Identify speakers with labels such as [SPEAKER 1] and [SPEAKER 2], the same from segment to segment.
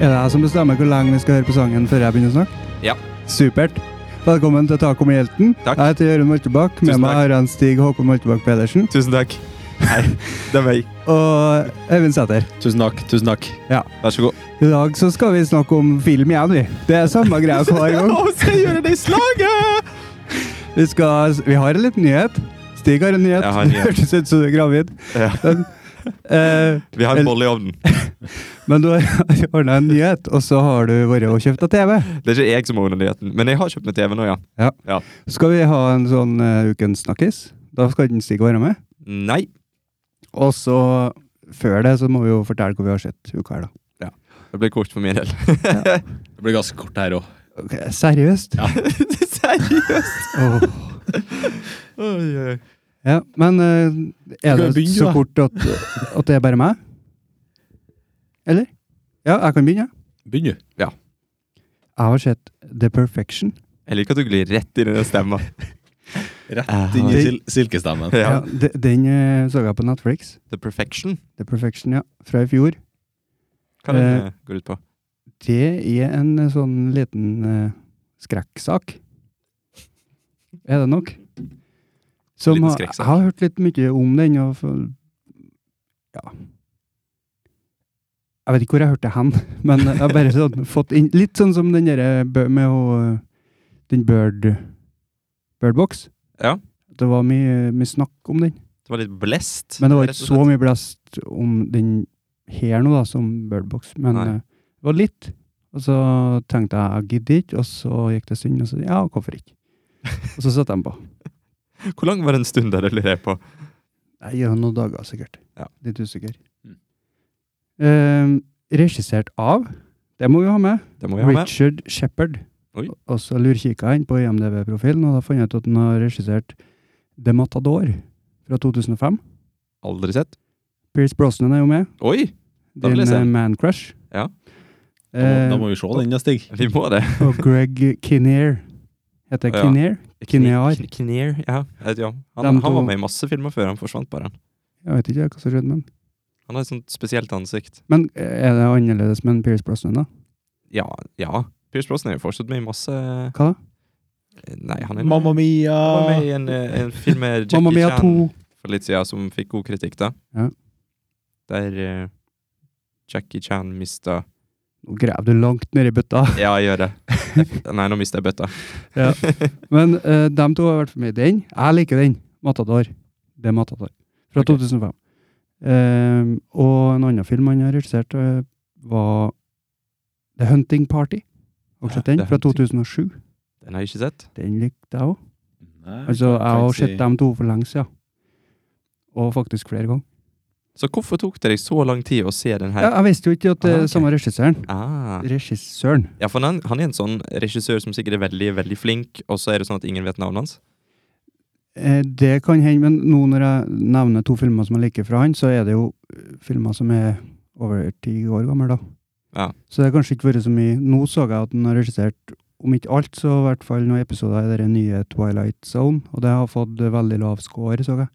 [SPEAKER 1] Er det jeg som bestemmer hvor lenge vi skal høre på sangen før jeg begynner å snakke?
[SPEAKER 2] Ja.
[SPEAKER 1] Supert. Velkommen til Taco med Hjelten.
[SPEAKER 2] Takk.
[SPEAKER 1] Jeg heter Jørund Moltebakk. Med
[SPEAKER 2] Tusen
[SPEAKER 1] meg
[SPEAKER 2] takk.
[SPEAKER 1] har jeg en Stig Håkon Moltebakk Pedersen
[SPEAKER 2] Tusen takk. Nei, det er meg.
[SPEAKER 1] og Øyvind Sæther.
[SPEAKER 3] Tusen takk. tusen takk.
[SPEAKER 2] Vær så god.
[SPEAKER 1] I dag så skal vi snakke om film igjen, vi. Det er samme greia hver gang.
[SPEAKER 2] skal jeg gjøre det i slaget!
[SPEAKER 1] Vi, skal, vi har en liten nyhet. Stig har en nyhet.
[SPEAKER 2] Jeg har en
[SPEAKER 1] Det
[SPEAKER 2] nyhet.
[SPEAKER 1] Hørtes ut som du er gravid.
[SPEAKER 2] Ja.
[SPEAKER 1] Men, eh,
[SPEAKER 2] Vi har en bolle i ovnen.
[SPEAKER 1] men du har ordna en nyhet, og så har du vært og kjøpt deg TV.
[SPEAKER 2] Det er ikke jeg som ordner nyheten, men jeg har kjøpt meg TV nå, ja.
[SPEAKER 1] Skal vi ha en sånn eh, Ukens snakkis? Da skal den Stig være med.
[SPEAKER 2] Nei.
[SPEAKER 1] Og så, før det, så må vi jo fortelle hva vi har sett uka her, da.
[SPEAKER 2] Det blir kort for min del.
[SPEAKER 3] Det blir ganske kort her òg.
[SPEAKER 1] Ok, Seriøst?
[SPEAKER 3] Ja.
[SPEAKER 2] Seriøst?
[SPEAKER 1] Åh.
[SPEAKER 2] Oi, oi.
[SPEAKER 1] Ja, men eh, er
[SPEAKER 3] Skal vi
[SPEAKER 1] det
[SPEAKER 3] begynne,
[SPEAKER 1] så
[SPEAKER 3] da?
[SPEAKER 1] kort at, at det er bare meg? Eller? Ja, jeg kan begynne. jeg.
[SPEAKER 3] Begynn, du.
[SPEAKER 1] Jeg har sett The Perfection.
[SPEAKER 2] Jeg liker at du glir rett inn i den stemma.
[SPEAKER 3] Rett inn i
[SPEAKER 1] Det-
[SPEAKER 3] sil silkestemmen.
[SPEAKER 2] Ja.
[SPEAKER 1] Ja, de, den eh, så jeg på Netflix.
[SPEAKER 2] The Perfection.
[SPEAKER 1] The Perfection, ja. Fra i fjor.
[SPEAKER 2] Hva er det den går ut på?
[SPEAKER 1] Det er en eh, sånn liten eh, skrekksak. Er det nok? Som
[SPEAKER 2] Liten
[SPEAKER 1] har,
[SPEAKER 2] skrekksak.
[SPEAKER 1] jeg har hørt litt mye om den, og for- ja Jeg vet ikke hvor jeg hørte hen, men jeg har bare sånn, fått inn Litt sånn som den derre bø- med å, eh, den bird birdbox.
[SPEAKER 2] Ja.
[SPEAKER 1] Det var mye, mye snakk om den.
[SPEAKER 2] Det var litt blest.
[SPEAKER 1] Men det var
[SPEAKER 2] rett
[SPEAKER 1] ikke
[SPEAKER 2] og
[SPEAKER 1] så
[SPEAKER 2] slett.
[SPEAKER 1] mye blest om den her nå, da, som Birdbox. Men
[SPEAKER 2] Nei.
[SPEAKER 1] eh, det var litt. Og så tenkte jeg jeg gidder ikke, og så gikk det en stund, og så ja, hvorfor ikke? Og så satte jeg den på.
[SPEAKER 2] Hvor lang var den stunden der du lurer på?
[SPEAKER 1] Nei, det er noen dager sikkert.
[SPEAKER 2] Ja.
[SPEAKER 1] Litt usikker.
[SPEAKER 3] Mm.
[SPEAKER 1] Eh, regissert av, det må vi ha med,
[SPEAKER 2] Det må jeg ha med.
[SPEAKER 1] Richard Shepherd.
[SPEAKER 2] Oi.
[SPEAKER 1] Og så lurkikka jeg inn på IMDv-profilen, og da fant jeg ut at han har regissert The Matador fra 2005.
[SPEAKER 2] Aldri sett.
[SPEAKER 1] Pierce Brosnan er jo med.
[SPEAKER 2] Oi! Da vil
[SPEAKER 1] Din
[SPEAKER 2] jeg se
[SPEAKER 1] eh,
[SPEAKER 2] den.
[SPEAKER 1] Man Crush.
[SPEAKER 2] Ja.
[SPEAKER 3] Da må,
[SPEAKER 1] Eh,
[SPEAKER 3] da må vi se den, da, Stig.
[SPEAKER 2] Vi må det.
[SPEAKER 1] og Greg Kinnear. Heter jeg
[SPEAKER 2] Ja.
[SPEAKER 1] Kinnear? Kinear.
[SPEAKER 2] Kn- Knear, ja. Jeg vet ikke, ja.
[SPEAKER 1] Dem
[SPEAKER 2] Han, han
[SPEAKER 1] to-
[SPEAKER 2] var med i masse filmer før han forsvant, bare.
[SPEAKER 1] Jeg vet ikke hva som skjedde, men
[SPEAKER 2] Han har et sånt spesielt ansikt.
[SPEAKER 1] Men eh, er det annerledes med en Pierce Brosnan, da?
[SPEAKER 2] Ja, ja. Pierce Brosnan er jo fortsatt med i masse
[SPEAKER 1] Hva da?
[SPEAKER 2] Nei, han er
[SPEAKER 3] Mamma mia!
[SPEAKER 2] Han var med i en, eh, en film med Jackie
[SPEAKER 1] Mamma Mia
[SPEAKER 2] Chan
[SPEAKER 1] 2.
[SPEAKER 2] for litt siden som fikk god kritikk, da.
[SPEAKER 1] Ja.
[SPEAKER 2] Der eh, Jackie Chan mista
[SPEAKER 1] Nå graver du langt nedi bøtta.
[SPEAKER 2] Ja, jeg gjør det. Nei, nå mista jeg bøtta.
[SPEAKER 1] Ja. Men eh, dem to har vært for meg. Den, jeg liker den. Matador. Det er Matador. Fra
[SPEAKER 2] Ok.
[SPEAKER 1] 2005. Ehm, og en annen film han har regissert, eh, var The Hunting Party. Har du sett
[SPEAKER 2] Ja,
[SPEAKER 1] den?
[SPEAKER 2] The
[SPEAKER 1] Fra
[SPEAKER 2] Hunting.
[SPEAKER 1] 2007.
[SPEAKER 2] Den har jeg ikke sett.
[SPEAKER 1] Den likte jeg òg.
[SPEAKER 3] Nei,
[SPEAKER 1] Altså, jeg har
[SPEAKER 3] faktisk-
[SPEAKER 1] sett dem to for lenge siden. Og faktisk flere ganger.
[SPEAKER 2] Så hvorfor tok det deg så lang tid å se den
[SPEAKER 1] Ja,
[SPEAKER 2] her?
[SPEAKER 1] jeg visste jo ikke at det
[SPEAKER 2] Ah,
[SPEAKER 1] er
[SPEAKER 2] ok.
[SPEAKER 1] samme regissøren.
[SPEAKER 2] Ah.
[SPEAKER 1] Regissøren.
[SPEAKER 2] Ja, for han, han er en sånn regissør som sikkert er veldig, veldig flink, og så er det sånn at ingen vet navnet hans.
[SPEAKER 1] Eh, Det kan hende, men nå når jeg nevner to filmer som jeg liker fra han, så er det jo eh, filmer som er over ti år gammel da.
[SPEAKER 2] Ja.
[SPEAKER 1] Så det har kanskje ikke vært så mye. Nå så jeg at han har regissert, om ikke alt, så i hvert fall noen episoder i den nye Twilight Zone, og det har fått eh, veldig lav score, så jeg.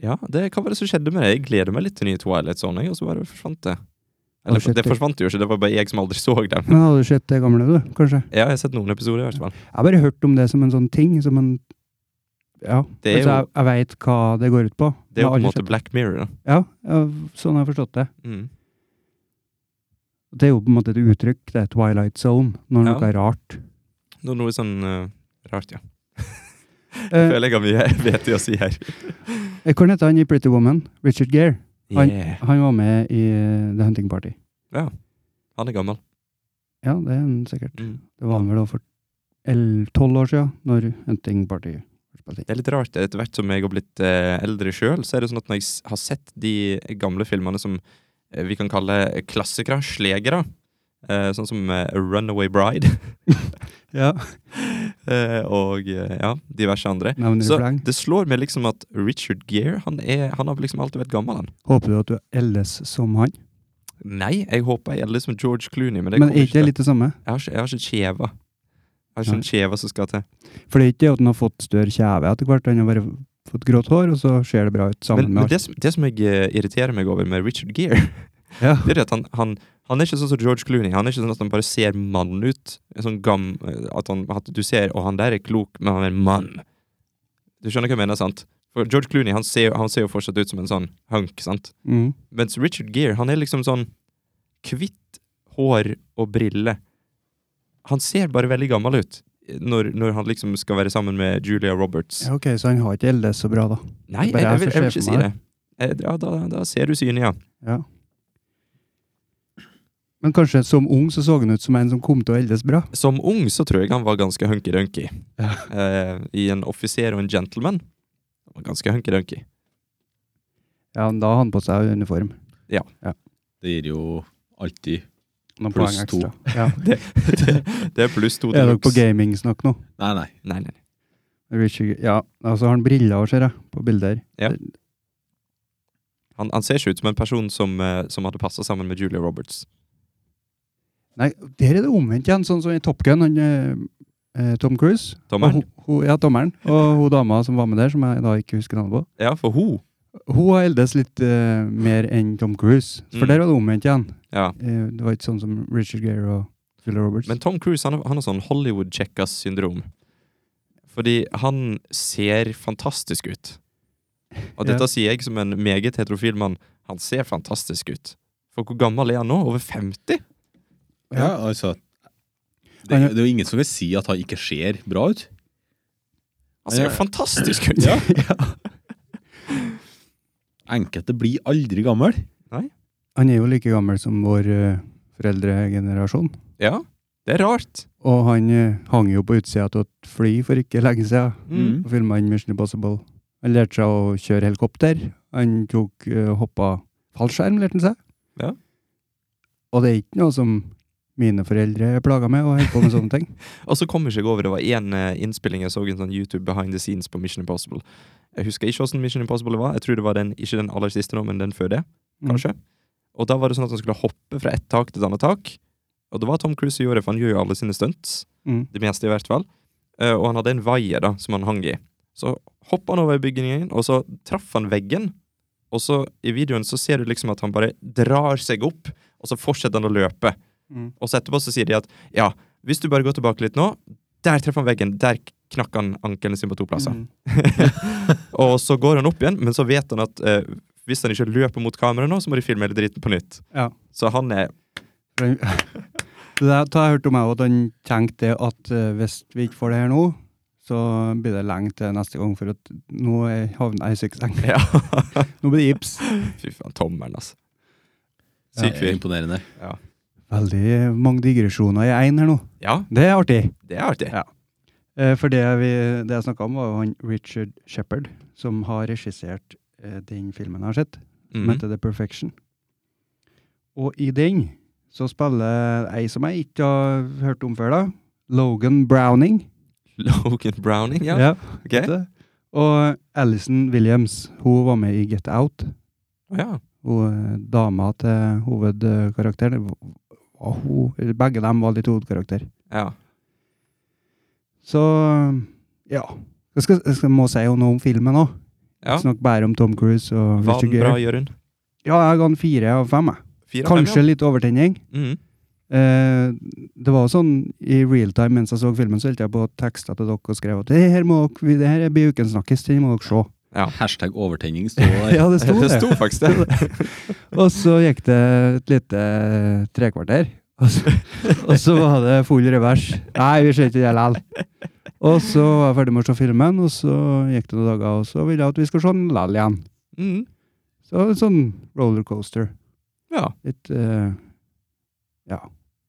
[SPEAKER 2] Ja, det, Hva var det som skjedde med det? Jeg gleder meg litt til nye Twilight Zone, jeg, og så bare forsvant det.
[SPEAKER 1] Har du
[SPEAKER 2] Eller,
[SPEAKER 1] sett
[SPEAKER 2] det
[SPEAKER 1] det?
[SPEAKER 2] forsvant jo ikke, det var bare jeg som aldri så den.
[SPEAKER 1] Men hadde du sett det gamle, du? Kanskje?
[SPEAKER 2] Ja, jeg har sett noen episoder, i hvert fall.
[SPEAKER 1] Jeg har bare hørt om det som en sånn ting, som en Ja.
[SPEAKER 2] Det er
[SPEAKER 1] altså, jeg, jeg veit hva det går ut på.
[SPEAKER 2] Det
[SPEAKER 1] Men
[SPEAKER 2] er jo på en
[SPEAKER 1] jeg har aldri
[SPEAKER 2] måte Black Mirror, da.
[SPEAKER 1] sett- Ja, ja, sånn har jeg forstått det.
[SPEAKER 2] Mm.
[SPEAKER 1] Det er jo på en måte et uttrykk, det er Twilight Zone, når
[SPEAKER 2] Ja.
[SPEAKER 1] noe er rart.
[SPEAKER 2] Nå- noe sånn eh, rart, ja.
[SPEAKER 1] Eh,
[SPEAKER 2] Føler jeg har mye vett i å si her.
[SPEAKER 1] eh, Hvordan heter han i Pretty Woman? Richard Gere. Han-
[SPEAKER 2] Yeah.
[SPEAKER 1] Han var med i eh, The Hunting Party.
[SPEAKER 2] Han er gammel.
[SPEAKER 1] Ja, det er han sikkert.
[SPEAKER 2] Mm.
[SPEAKER 1] Det var han vel da for tolv år siden, når Hunting Party ble spilt inn.
[SPEAKER 2] Det er litt rart. Etter hvert som jeg har blitt eh, eldre sjøl, så er det sånn at når jeg s- har sett de gamle filmene som eh, vi kan kalle klassikere, slegere, eh, sånn som eh, Runaway Bride
[SPEAKER 1] Ja.
[SPEAKER 2] eh, og eh, ja, diverse andre
[SPEAKER 1] Nevner du
[SPEAKER 2] Så
[SPEAKER 1] fleng?
[SPEAKER 2] det slår meg liksom at Richard Gere, han, er, han har liksom alltid vært gammel, han.
[SPEAKER 1] Håper du at du eldes som han?
[SPEAKER 2] Nei, jeg håper jeg er litt som George Clooney, men det
[SPEAKER 1] Men
[SPEAKER 2] kommer
[SPEAKER 1] er ikke
[SPEAKER 2] ikke.
[SPEAKER 1] det
[SPEAKER 2] til.
[SPEAKER 1] litt det samme?
[SPEAKER 2] Jeg har ikke, jeg har ikke kjeva. Jeg har ikke en kjeva som skal til.
[SPEAKER 1] For det er ikke det at han har fått større kjeve etter hvert, han har bare fått grått hår, og så ser det bra ut sammen
[SPEAKER 2] Men,
[SPEAKER 1] med
[SPEAKER 2] men det, som, det som jeg eh, irriterer meg over med Richard Gere,
[SPEAKER 1] Ja.
[SPEAKER 2] det er at han, han, Han er ikke sånn som George Clooney. Han er ikke sånn at han bare ser mann ut. En Sånn gam, at, han, at du ser Og han der er klok, men han er en mann. Du skjønner hva jeg mener, sant? For George Clooney han ser, han ser jo fortsatt ut som en sånn hunk, sant?
[SPEAKER 1] Mm.
[SPEAKER 2] Mens Richard Gere, han er liksom sånn kvitt hår og briller. Han ser bare veldig gammel ut når, når han liksom skal være sammen med Julia Roberts.
[SPEAKER 1] Ja, ok, så han har ikke eldes så bra, da.
[SPEAKER 2] Nei, jeg,
[SPEAKER 1] Bare
[SPEAKER 2] jeg,
[SPEAKER 1] jeg
[SPEAKER 2] vil,
[SPEAKER 1] som
[SPEAKER 2] jeg vil
[SPEAKER 1] ser
[SPEAKER 2] ikke
[SPEAKER 1] for
[SPEAKER 2] si
[SPEAKER 1] meg.
[SPEAKER 2] det. Eh, Ja, da, da ser du synet, ja.
[SPEAKER 1] Ja. Men kanskje som ung så så han ut som en som kom til å eldes bra.
[SPEAKER 2] Som ung så tror jeg han var ganske hunky-dunky. Eh, I en offiser og en gentleman. Han var ganske hunky-dunky.
[SPEAKER 1] Ja, men da har han på seg uniform.
[SPEAKER 3] Det gir jo alltid
[SPEAKER 1] Noen
[SPEAKER 3] Pluss
[SPEAKER 1] poeng
[SPEAKER 3] to.
[SPEAKER 1] ekstra. Ja.
[SPEAKER 2] Det, det, det er pluss to
[SPEAKER 1] Er dere på
[SPEAKER 2] deluxe.
[SPEAKER 1] gamingsnakk nå?
[SPEAKER 3] Nei, nei.
[SPEAKER 2] Nei, nei.
[SPEAKER 1] Richie, ja, altså har han briller og ser jeg, på bilder.
[SPEAKER 2] Han, han ser ikke ut som en person som, eh, som hadde passa sammen med Julia Roberts.
[SPEAKER 1] Nei, der er det omvendt igjen, sånn som i Top Gun, han, eh, eh, Tom Cruise.
[SPEAKER 2] Tommeren?
[SPEAKER 1] Og hun- hun- ja, tommeren. Og hun dama som var med der, som jeg da ikke husker navnet på.
[SPEAKER 2] Ja, for hun.
[SPEAKER 1] Hun har eldes litt eh, mer enn Tom Cruise, for
[SPEAKER 2] Mm.
[SPEAKER 1] der var det omvendt igjen.
[SPEAKER 2] Ja.
[SPEAKER 1] Eh, det var ikke sånn som Richard Gere og Julia Roberts.
[SPEAKER 2] Men Tom Cruise han, har- han har sånn Hollywood-checkas-syndrom. Fordi han ser fantastisk ut. Og
[SPEAKER 1] Ja.
[SPEAKER 2] dette sier jeg som en meget heterofil mann. Han ser fantastisk ut. For hvor gammel er han nå? Over 50?
[SPEAKER 3] Ja,
[SPEAKER 1] Ja.
[SPEAKER 3] altså det,
[SPEAKER 1] Han er-
[SPEAKER 3] det er jo ingen som vil si at han ikke ser bra ut.
[SPEAKER 2] Han ser
[SPEAKER 3] Ja.
[SPEAKER 2] jo fantastisk ut!
[SPEAKER 3] Enkelte blir aldri gammel.
[SPEAKER 1] Han er jo like gammel som vår eh, foreldregenerasjon.
[SPEAKER 2] Ja, det er rart.
[SPEAKER 1] Og han eh, hang jo på utsida av et fly for ikke lenge siden.
[SPEAKER 2] Mm.
[SPEAKER 1] og filma inn Mission Impossible. Han lærte seg å kjøre helikopter. Han tok uh, hoppa fallskjerm, lærte han seg.
[SPEAKER 2] Ja.
[SPEAKER 1] Og det er ikke noe som mine foreldre er plaga med, å holde på med sånne ting.
[SPEAKER 2] Og så kommer jeg ikke over, det var én eh, innspilling jeg så en sånn YouTube behind the scenes på Mission Impossible. Jeg husker ikke hvordan Mission Impossible var. Jeg tror det var den, ikke den aller siste nå, men den før det,
[SPEAKER 1] Mm.
[SPEAKER 2] kanskje. Og da var det sånn at han skulle hoppe fra ett tak til et annet tak. Og det var Tom Cruise som gjorde det, for han gjør jo alle sine stunts.
[SPEAKER 1] Mm.
[SPEAKER 2] Det meste, i hvert fall. Eh, og han hadde en vaier da, som han hang i. Så hoppa han over bygningen, og så traff han veggen. Og så i videoen så ser du liksom at han bare drar seg opp, og så fortsetter han å løpe.
[SPEAKER 1] Mm.
[SPEAKER 2] Og så etterpå så sier de at ja, hvis du bare går tilbake litt nå Der treffer han veggen. Der knakk han ankelen sin på to plasser.
[SPEAKER 1] Mm.
[SPEAKER 2] Og så går han opp igjen, men så vet han at eh, hvis han ikke løper mot kameraet nå, så må de filme hele dritten på nytt.
[SPEAKER 1] Ja.
[SPEAKER 2] Så han er
[SPEAKER 1] For han- Det der det har jeg hørt om meg, at han tenkte det at eh, hvis vi ikke får det her nå, så blir det lenge til neste gang, for at nå er- havner jeg i sykeseng.
[SPEAKER 2] Ja.
[SPEAKER 1] Nå blir det gips.
[SPEAKER 2] Fy faen, tommelen, altså.
[SPEAKER 1] Ja,
[SPEAKER 2] Syk
[SPEAKER 3] Det er
[SPEAKER 2] fyr.
[SPEAKER 3] imponerende.
[SPEAKER 1] Veldig mange digresjoner i én her nå.
[SPEAKER 2] Ja,
[SPEAKER 1] Det er artig.
[SPEAKER 2] det er artig.
[SPEAKER 1] Ja. Eh, For det, vi, det jeg snakka om, var jo han Richard Shepherd, som har regissert eh, den filmen jeg har sett, som
[SPEAKER 2] Mhm.
[SPEAKER 1] heter The Perfection. Og i den så spiller ei som jeg ikke har hørt om før, da. Logan Browning.
[SPEAKER 2] Logan Browning, ja. ok.
[SPEAKER 1] vet du. Og Alison Williams. Hun var med i Get Out.
[SPEAKER 2] ja.
[SPEAKER 1] Hun eh, dama til hovedkarakteren. Det var hun- eller Begge dem var litt hovedkarakter.
[SPEAKER 2] ja.
[SPEAKER 1] Så ja. Jeg, skal, jeg skal, må si jo noe om filmen òg.
[SPEAKER 2] Ja.
[SPEAKER 1] Snakk bare om Tom Cruise og
[SPEAKER 2] Var
[SPEAKER 1] Richard
[SPEAKER 2] den bra,
[SPEAKER 1] Gere.
[SPEAKER 2] Jørund?
[SPEAKER 1] Ja, jeg ga den fire av fem. jeg.
[SPEAKER 2] Fire av fem,
[SPEAKER 1] Kanskje litt overtenning.
[SPEAKER 2] ja. Mhm.
[SPEAKER 1] Eh, det var jo sånn i real time mens jeg så filmen, så holdt jeg på å tekste til dere og skrev at det her, må dere, det her blir ukens snakkis, den må dere se.
[SPEAKER 2] Ja.
[SPEAKER 3] Hashtag overtenning står der.
[SPEAKER 1] Ja, det sto
[SPEAKER 2] Det
[SPEAKER 1] det.
[SPEAKER 2] sto faktisk det.
[SPEAKER 1] Og så gikk det et lite eh, trekvarter, og så, og så var det full revers. Nei, vi ser ikke det likevel. Og så var jeg ferdig med å se filmen, og så gikk det noen dager, og så ville jeg at vi skulle se den likevel igjen.
[SPEAKER 2] Mhm.
[SPEAKER 1] Så en sånn rollercoaster.
[SPEAKER 2] Ja.
[SPEAKER 1] Litt eh, Ja.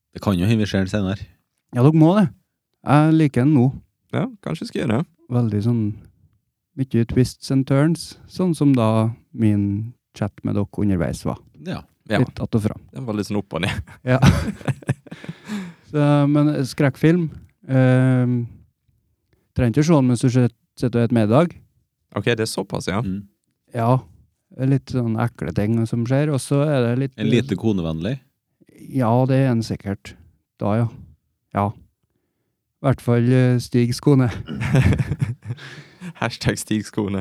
[SPEAKER 3] Det kan jo hende vi ser den senere.
[SPEAKER 1] Ja, dere må det. Jeg liker den nå.
[SPEAKER 2] ja, kanskje skal jeg gjøre det.
[SPEAKER 1] Veldig sånn mye twists and turns, sånn som da min chat med dere underveis var.
[SPEAKER 3] Ja.
[SPEAKER 2] Ja.
[SPEAKER 1] Litt att og fram.
[SPEAKER 2] Den var litt sånn opp og ned.
[SPEAKER 1] Ja. Så, men skrekkfilm eh, Trenger ikke å se den mens du sit- sitter og spiser middag.
[SPEAKER 2] Ok, det er såpass, ja.
[SPEAKER 3] Mm.
[SPEAKER 1] Ja. det er Litt sånn ekle ting som skjer, og så er det litt
[SPEAKER 3] En lite konevennlig.
[SPEAKER 1] Ja, det er en sikkert. Da, ja. Ja. I hvert fall eh, Stig Skone.
[SPEAKER 2] Hashtag Stig Skone.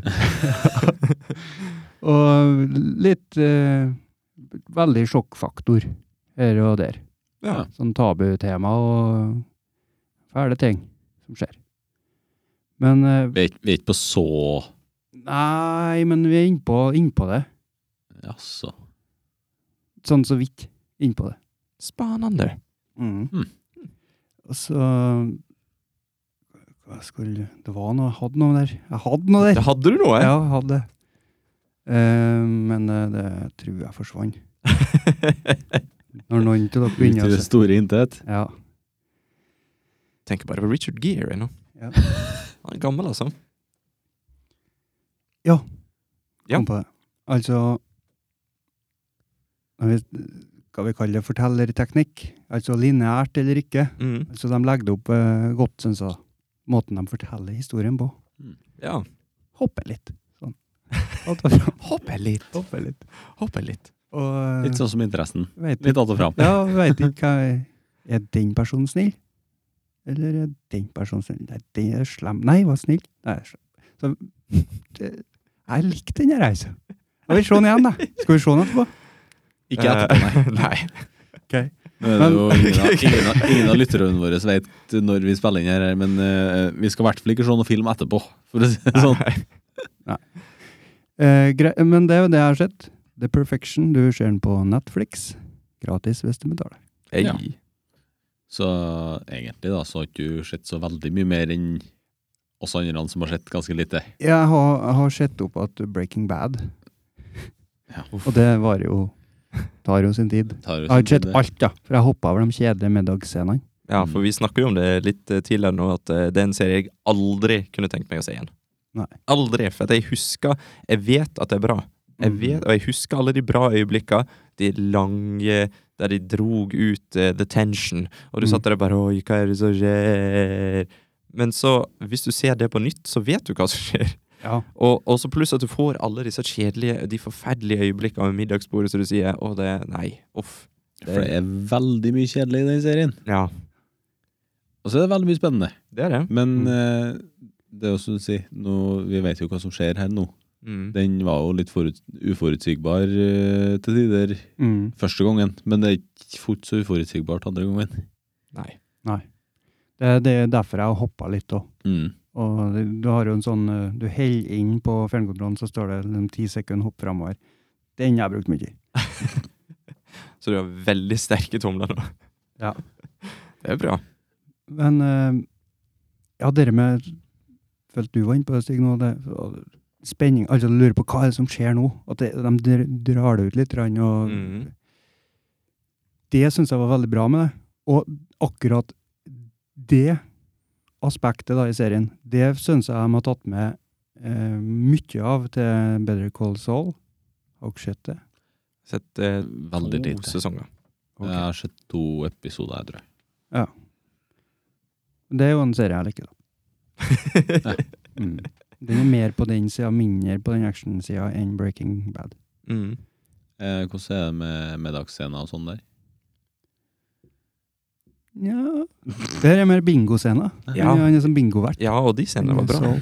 [SPEAKER 1] Og litt eh, Veldig sjokkfaktor. her og der.
[SPEAKER 2] Ja.
[SPEAKER 1] Sånn tabutema og fæle ting som skjer. Men eh,
[SPEAKER 3] Vi er ikke- vi er ikke på så
[SPEAKER 1] Nei, men vi er innpå, innpå det.
[SPEAKER 3] Jaså.
[SPEAKER 1] Sånn så vidt innpå det.
[SPEAKER 2] Spennende.
[SPEAKER 3] Mm.
[SPEAKER 1] Og så hva skulle, Det var noe Jeg hadde noe der. Jeg hadde noe der!
[SPEAKER 2] Det hadde du noe?
[SPEAKER 1] Ja, jeg hadde det. Eh, men eh, det tror jeg forsvant. Når noen av dere
[SPEAKER 3] Ut i
[SPEAKER 1] begynner å
[SPEAKER 3] det
[SPEAKER 1] se-
[SPEAKER 3] store intet.
[SPEAKER 1] Ja.
[SPEAKER 2] Tenker bare på Richard Gere ennå.
[SPEAKER 1] Ja.
[SPEAKER 2] Han er gammel, altså. Ja.
[SPEAKER 1] kom på det. Altså jeg vet- Hva vi kaller det? Fortellerteknikk? Altså lineært eller ikke?
[SPEAKER 2] Mm.
[SPEAKER 1] Altså De legger det opp eh, godt, syns jeg. Måten de forteller historien på.
[SPEAKER 2] Ja.
[SPEAKER 1] Hopper litt. Sånn. Alt og fram.
[SPEAKER 2] Hoppe litt. Hoppe litt. Hoppe litt.
[SPEAKER 1] Og
[SPEAKER 3] Litt sånn som interessen.
[SPEAKER 1] eh, vet
[SPEAKER 3] Litt
[SPEAKER 1] ikke,
[SPEAKER 3] att og fram.
[SPEAKER 1] ja, vet ikke hva jeg- Er den personen snill? Eller er den personen snill? Nei, den er slem. Nei, var snill. Nei, er slem. Så, det, jeg likte den her, altså. Jeg vil se den igjen, da. Skal vi se den etterpå?
[SPEAKER 3] Ikke etterpå, nei.
[SPEAKER 2] Eh, nei.
[SPEAKER 3] Nå er det jo ingen, av- ingen, av- ingen av lytterne våre som vet når vi spiller inn her, men eh, vi skal i hvert fall ikke se noe film etterpå, for å si det sånn.
[SPEAKER 1] Eh, grei, men det er jo det jeg har sett. The Perfection. Du ser den på Netflix. Gratis hvis du betaler.
[SPEAKER 2] Ei.
[SPEAKER 3] Ja. Så egentlig da, så har ikke du sett så veldig mye mer enn oss andre som har sett ganske lite.
[SPEAKER 1] Jeg har, jeg har sett opp at Breaking Bad
[SPEAKER 3] Ja.
[SPEAKER 1] Og det var jo Tar jo sin tid.
[SPEAKER 3] Tar jo
[SPEAKER 1] Jeg har
[SPEAKER 3] sin
[SPEAKER 1] ikke sett
[SPEAKER 3] tid, det.
[SPEAKER 1] alt, da. For jeg hoppa over de kjedelige middagsscenene.
[SPEAKER 2] Ja, for vi snakka jo om det litt eh, tidligere nå, at eh, det er en serie jeg aldri kunne tenkt meg å se igjen.
[SPEAKER 1] Nei.
[SPEAKER 2] Aldri. For at jeg husker Jeg vet at det er bra. Jeg
[SPEAKER 1] Mm.
[SPEAKER 2] vet, og jeg husker alle de bra øyeblikkene. De lange der de drog ut eh, the tension. Og du
[SPEAKER 1] Mm.
[SPEAKER 2] satt der og bare Oi, hva er det som skjer? Men så, hvis du ser det på nytt, så vet du hva som skjer.
[SPEAKER 1] Ja.
[SPEAKER 2] Og, og så pluss at du får alle disse kjedelige, de forferdelige øyeblikkene ved middagsbordet, som du sier. Å, det Nei. Uff.
[SPEAKER 3] For det er veldig mye kjedelig i den serien.
[SPEAKER 2] Ja.
[SPEAKER 3] Og så er det veldig mye spennende.
[SPEAKER 2] Det er det.
[SPEAKER 3] Men
[SPEAKER 1] Mm.
[SPEAKER 3] eh, det er jo som du sier, nå, vi vet jo hva som skjer her nå.
[SPEAKER 2] Mm.
[SPEAKER 3] Den var jo litt forut, uforutsigbar eh, til tider
[SPEAKER 1] Mm.
[SPEAKER 3] første gangen, men det er ikke fort så uforutsigbart andre gangen.
[SPEAKER 2] Nei.
[SPEAKER 1] Det, det er derfor jeg har hoppa litt òg.
[SPEAKER 3] Mm.
[SPEAKER 1] Og det- du har jo en sånn eh, Du holder inn på fjernkontrollen, så står det en ti sekunder hopp framover. Den har jeg brukt mye.
[SPEAKER 2] Så du har veldig sterke tomler nå.
[SPEAKER 1] Ja.
[SPEAKER 2] Det er bra.
[SPEAKER 1] Men eh, ja, dere med Følte du var inne på det, Stig, nå. Det, og spenning Altså, lurer på hva er det som skjer nå? At det, de dr- drar det ut litt. grann, Og
[SPEAKER 2] Mhm.
[SPEAKER 1] Det syns jeg var veldig bra med det. Og akkurat det aspektet da i serien, det syns jeg de har tatt med eh, mye av til Better Call Saul. Har dere sett det?
[SPEAKER 2] Sett eh,
[SPEAKER 3] Veldig
[SPEAKER 2] to
[SPEAKER 3] lite.
[SPEAKER 2] sesonger.
[SPEAKER 1] Ok.
[SPEAKER 3] Jeg har sett to episoder, jeg tror.
[SPEAKER 1] Det er jo en serie jeg liker, da. mm. Den er mer på den sida, mindre på den actionsida enn Breaking Bad.
[SPEAKER 2] Mm.
[SPEAKER 3] Eh, hvordan er det med middagsscener og sånn der?
[SPEAKER 1] Ja. Det her er mer bingoscena.
[SPEAKER 2] Ja.
[SPEAKER 1] Han er som bingovert.
[SPEAKER 2] Ja, og de scenene var bra.
[SPEAKER 1] Så,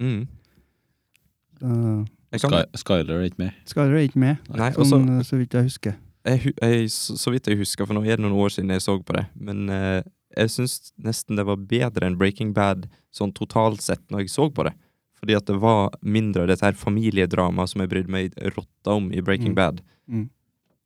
[SPEAKER 2] Mm.
[SPEAKER 1] eh,
[SPEAKER 2] Jeg, kan,
[SPEAKER 3] Sky, Skyler er ikke med.
[SPEAKER 1] Skyler er ikke med,
[SPEAKER 2] nei, og så-
[SPEAKER 1] sånn, eh, så vidt jeg husker.
[SPEAKER 2] jeg, hu- jeg, så så vidt jeg husker, for nå er det noen år siden jeg så på det, men eh, jeg syns nesten det var bedre enn Breaking Bad sånn totalt sett når jeg så på det. Fordi at det var mindre av dette her familiedramaet som jeg brydde meg rotta om i Breaking
[SPEAKER 1] Mm.
[SPEAKER 2] Bad.
[SPEAKER 1] Mm.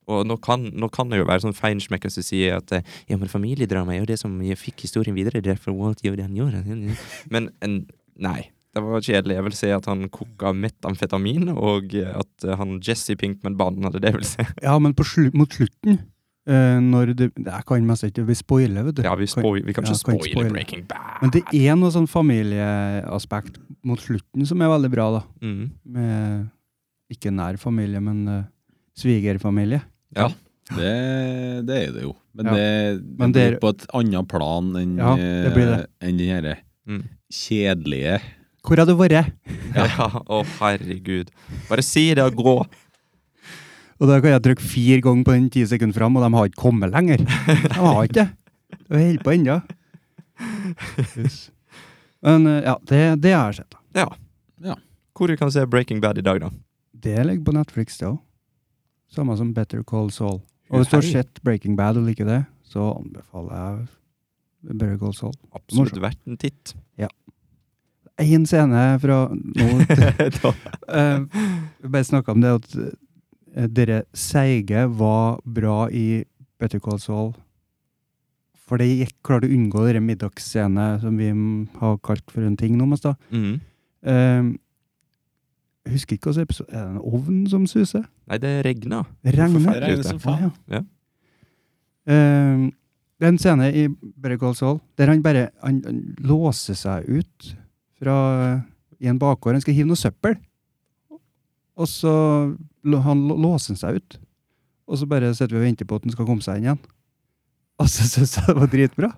[SPEAKER 2] Og nå kan, nå kan det jo være sånn feinschmecker som sier at eh, ja, men familiedrama er jo det som jeg fikk historien videre, derfor Walt gjorde det han gjorde. Men en- nei. Det var kjedelig. Jeg vil si at han koka metamfetamin, og eh, at eh, han Jesse Pinkman banna det, det vil si.
[SPEAKER 1] Ja, men på slu, mot slutten, eh, når det Jeg kan mest ikke vi spoiler, vet du.
[SPEAKER 2] Ja, vi,
[SPEAKER 1] Kan-
[SPEAKER 2] spoil, vi kan
[SPEAKER 1] ja, kan
[SPEAKER 2] ikke spoile
[SPEAKER 1] ikke spoile.
[SPEAKER 2] Breaking Bad.
[SPEAKER 1] Men det er noe sånn familieaspekt mot slutten som er veldig bra, da.
[SPEAKER 2] mm.
[SPEAKER 1] Med ikke nær familie, men eh, svigerfamilie.
[SPEAKER 3] Det, det er det jo. Men
[SPEAKER 1] Ja.
[SPEAKER 3] det,
[SPEAKER 1] Men
[SPEAKER 3] det
[SPEAKER 1] det
[SPEAKER 3] blir på et annet plan enn
[SPEAKER 1] Ja, det blir det.
[SPEAKER 3] eh, enn den herre
[SPEAKER 2] Mm.
[SPEAKER 3] kjedelige
[SPEAKER 1] Hvor har du vært?
[SPEAKER 2] Ja, å herregud. Bare si det og gå.
[SPEAKER 1] Og da kan jeg trykke fire ganger på den ti sekunder fram, og de har ikke kommet lenger. De har ikke det. De holder på ennå. Yes. Men eh, ja, det, det har jeg sett. da.
[SPEAKER 2] Hvor du kan se Breaking Bad i dag, da?
[SPEAKER 1] Det ligger på Netflix, det òg. Samme som Better Call Saul. Og hvis du har
[SPEAKER 2] Hei.
[SPEAKER 1] sett Breaking Bad og liker det, så anbefaler jeg Better Call Saul.
[SPEAKER 2] Absolutt
[SPEAKER 1] Morsom.
[SPEAKER 2] verdt en titt.
[SPEAKER 1] Én scene fra nå
[SPEAKER 2] Da-
[SPEAKER 1] eh, Vi bare snakka om det at eh, dere seige var bra i Better Call Saul. For det gikk klarte å unngå dere middagsscene som vi mm, har kalt for en ting nå. Mest, da.
[SPEAKER 2] Mhm.
[SPEAKER 1] Eh, husker ikke hva slags episode Er det en ovn som suser?
[SPEAKER 2] Nei, det regna.
[SPEAKER 1] Regner?
[SPEAKER 2] Forferdelig ute.
[SPEAKER 3] som
[SPEAKER 1] Ah,
[SPEAKER 3] faen.
[SPEAKER 1] ja.
[SPEAKER 2] Ja.
[SPEAKER 1] Ehm, det er en scene i Better Call Saul der han bare han, han låser seg ut fra, i en bakgård. Han skal hive noe søppel, og så lå- han lå- låser han seg ut. Og så bare sitter vi og venter på at han skal komme seg inn igjen. Og så syns jeg det var dritbra!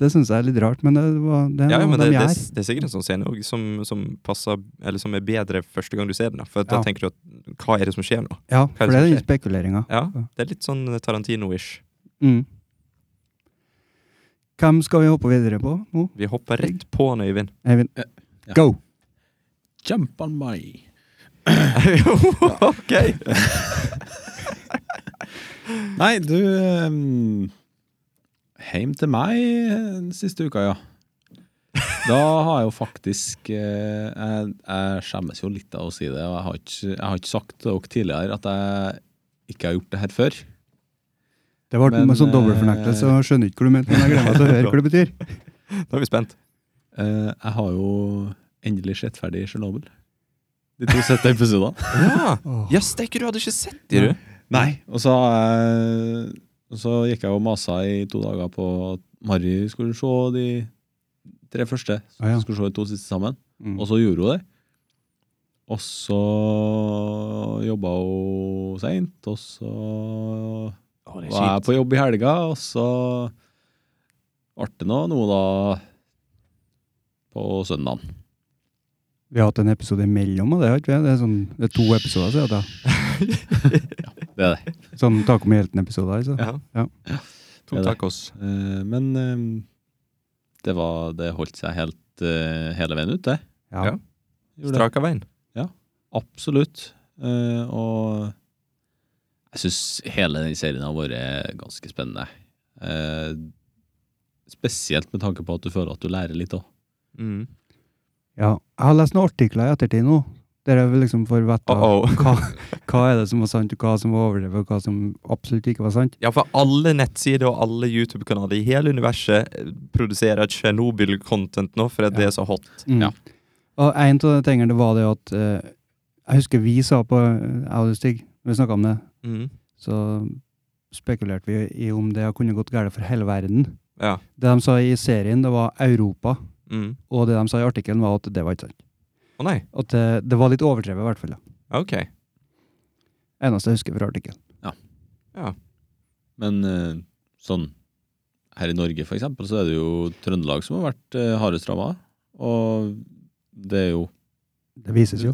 [SPEAKER 1] Det syns jeg er litt rart, men det, var, det er
[SPEAKER 2] Ja, ja,
[SPEAKER 1] noe
[SPEAKER 2] men det,
[SPEAKER 1] de
[SPEAKER 2] det,
[SPEAKER 1] gjør.
[SPEAKER 2] det er sikkert en sånn scene også, som, som, passer, eller som er bedre første gang du ser den. da. For at
[SPEAKER 1] Ja.
[SPEAKER 2] da tenker du at hva er det som skjer nå?
[SPEAKER 1] Ja, for det er
[SPEAKER 2] som
[SPEAKER 1] den spekuleringa.
[SPEAKER 2] Ja, Det er litt sånn Tarantino-ish.
[SPEAKER 1] Mm. Hvem skal vi hoppe videre på nå?
[SPEAKER 2] Vi hopper rett på han, Øyvind.
[SPEAKER 1] Eivind?
[SPEAKER 3] Ja.
[SPEAKER 1] Go!
[SPEAKER 3] Jump on my
[SPEAKER 2] ok!
[SPEAKER 3] Nei, du ehm, Heim til meg den siste uka, ja. Da har jeg jo faktisk eh, Jeg, jeg skjemmes jo litt av å si det, og jeg har ikke, jeg har ikke sagt til dere tidligere at jeg ikke har gjort det her før.
[SPEAKER 1] Det ble
[SPEAKER 3] Men,
[SPEAKER 1] med sånn dobbeltfornektelse, og jeg skjønner ikke hva du mente, men jeg gleder meg til å høre hva det betyr.
[SPEAKER 2] Nå er vi spent.
[SPEAKER 3] Eh, jeg har jo endelig sett ferdig Tsjernobyl. De to sette episodene.
[SPEAKER 2] Ja, ja stekker, du hadde ikke sett de, du.
[SPEAKER 3] Nei, og så, eh, og så gikk jeg og masa i to dager på at Mari skulle se de tre første. Så
[SPEAKER 1] Ah, ja.
[SPEAKER 3] skulle se de to siste sammen.
[SPEAKER 1] Mm.
[SPEAKER 3] Og så gjorde hun det. Og så jobba hun seint, og så
[SPEAKER 2] Å, det er
[SPEAKER 3] var jeg
[SPEAKER 2] kjipt.
[SPEAKER 3] på jobb i helga, og så ble det nå noe da på søndagen.
[SPEAKER 1] Vi har hatt en episode imellom, og det har ikke vi. Det er, sånn, det er to episoder siden. Da.
[SPEAKER 3] Det er det.
[SPEAKER 1] Sånn Taco med helten-episoder. Altså.
[SPEAKER 2] Ja.
[SPEAKER 1] Ja.
[SPEAKER 3] Det
[SPEAKER 2] To
[SPEAKER 3] er det.
[SPEAKER 2] tacos.
[SPEAKER 3] Eh, Men eh, det, var, det holdt seg helt, eh, hele veien ut, det.
[SPEAKER 1] Ja.
[SPEAKER 2] Ja.
[SPEAKER 3] Gjorde det.
[SPEAKER 2] Straka veien.
[SPEAKER 3] Absolutt. Eh, og jeg syns hele den serien har vært ganske spennende. Eh, spesielt med tanke på at du føler at du lærer litt òg.
[SPEAKER 2] Mm.
[SPEAKER 1] Ja. Jeg har lest noen artikler i ettertid nå, der jeg liksom får vite
[SPEAKER 2] Uh-oh.
[SPEAKER 1] hva, hva er det som var sant, og hva som var overdrevet, og hva som absolutt ikke var sant.
[SPEAKER 2] Ja, for alle nettsider og alle YouTube-kanaler i hele universet eh, produserer Tsjernobyl-content nå fordi det er så hot.
[SPEAKER 1] Mm.
[SPEAKER 3] Ja.
[SPEAKER 1] Og en av de tingene det var det at eh, Jeg husker vi sa på eh, Jeg og du, Stig, når vi snakka om det,
[SPEAKER 2] Mm.
[SPEAKER 1] så spekulerte vi i om det kunne gått galt for hele verden.
[SPEAKER 2] Ja.
[SPEAKER 1] Det de sa i serien, det var Europa.
[SPEAKER 2] Mm.
[SPEAKER 1] Og det de sa i artikkelen, var at det var ikke sant.
[SPEAKER 2] Å nei.
[SPEAKER 1] At det, det var litt overdrevet, i hvert fall. da.
[SPEAKER 2] Ok.
[SPEAKER 1] Eneste jeg husker fra artikkelen.
[SPEAKER 3] Men eh, sånn her i Norge, for eksempel, så er det jo Trøndelag som har vært eh, hardest ramma. Og det er jo
[SPEAKER 1] Det vises jo.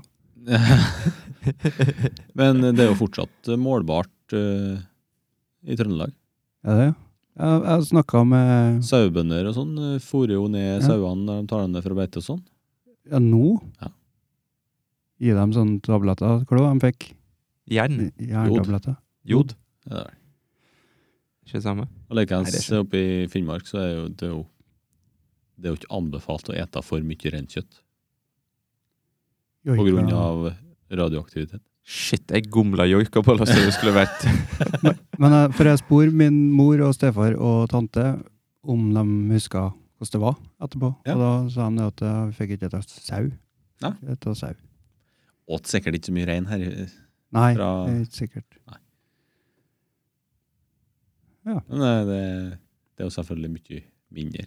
[SPEAKER 3] Men det er jo fortsatt eh, målbart eh, i Trøndelag.
[SPEAKER 1] Er det? Jeg, jeg eh, snakka med
[SPEAKER 3] Sauebønder og sånn eh, fôrer jo ned
[SPEAKER 1] Ja.
[SPEAKER 3] sauene når de tar dem ned fra beite og sånn.
[SPEAKER 1] ja, nå.
[SPEAKER 3] Ja.
[SPEAKER 1] Gi dem sånne tabletter. Hva det var de fikk?
[SPEAKER 2] Jern.
[SPEAKER 3] Mm.
[SPEAKER 1] Jerntabletter.
[SPEAKER 2] Jod.
[SPEAKER 3] Det er det.
[SPEAKER 2] Ikke det samme?
[SPEAKER 3] Og likeens
[SPEAKER 2] Nei, det er
[SPEAKER 3] oppe i Finnmark, så er jo det er jo det er jo ikke anbefalt å ete for mye reinkjøtt på grunn av radioaktivitet.
[SPEAKER 2] Shit, jeg gomla joikaboller som det skulle vært.
[SPEAKER 1] Men jeg, for jeg spor min mor og stefar og tante om de huska hvordan det var etterpå.
[SPEAKER 3] Ja.
[SPEAKER 1] Og da sa de det at ja, vi fikk ikke spise sau.
[SPEAKER 3] Nei.
[SPEAKER 1] Etter sau.
[SPEAKER 3] Åt sikkert ikke så mye rein her. i-
[SPEAKER 1] Nei,
[SPEAKER 3] Fra-
[SPEAKER 1] det er ikke sikkert.
[SPEAKER 3] Men eh, det, det er jo selvfølgelig mye mindre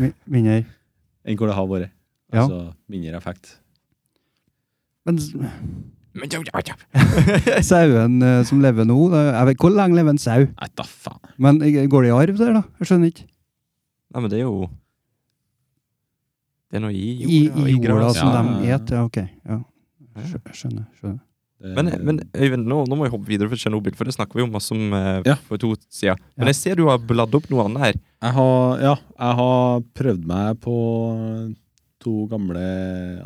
[SPEAKER 1] Mi- Mindre.
[SPEAKER 3] enn hvor det har vært.
[SPEAKER 1] Ja.
[SPEAKER 3] Altså mindre effekt.
[SPEAKER 1] Men s-
[SPEAKER 2] Men jo, ja, ja.
[SPEAKER 1] sauen eh, som lever nå da, jeg vet, Hvor lenge lever en sau?
[SPEAKER 3] Nei, da faen.
[SPEAKER 1] Men eh, går det i arv der, da? Jeg skjønner ikke.
[SPEAKER 2] Nei, men det er jo Det er noe i
[SPEAKER 1] I,
[SPEAKER 2] jorda. og
[SPEAKER 1] i jorda
[SPEAKER 2] gras.
[SPEAKER 1] som
[SPEAKER 3] ja,
[SPEAKER 1] de
[SPEAKER 3] ja.
[SPEAKER 1] et? Ja, ok. Ja.
[SPEAKER 2] Ja.
[SPEAKER 1] Skjø- Skjønner. skjønner.
[SPEAKER 3] Det-
[SPEAKER 2] Men, men Øyvind, nå, nå må jeg hoppe videre for Tsjernobyl, for det snakker vi jo masse om eh,
[SPEAKER 3] Ja.
[SPEAKER 2] for to sider.
[SPEAKER 1] Ja.
[SPEAKER 2] Men jeg ser du har bladd opp noe annet her.
[SPEAKER 3] Jeg har, ja, jeg har prøvd meg på to gamle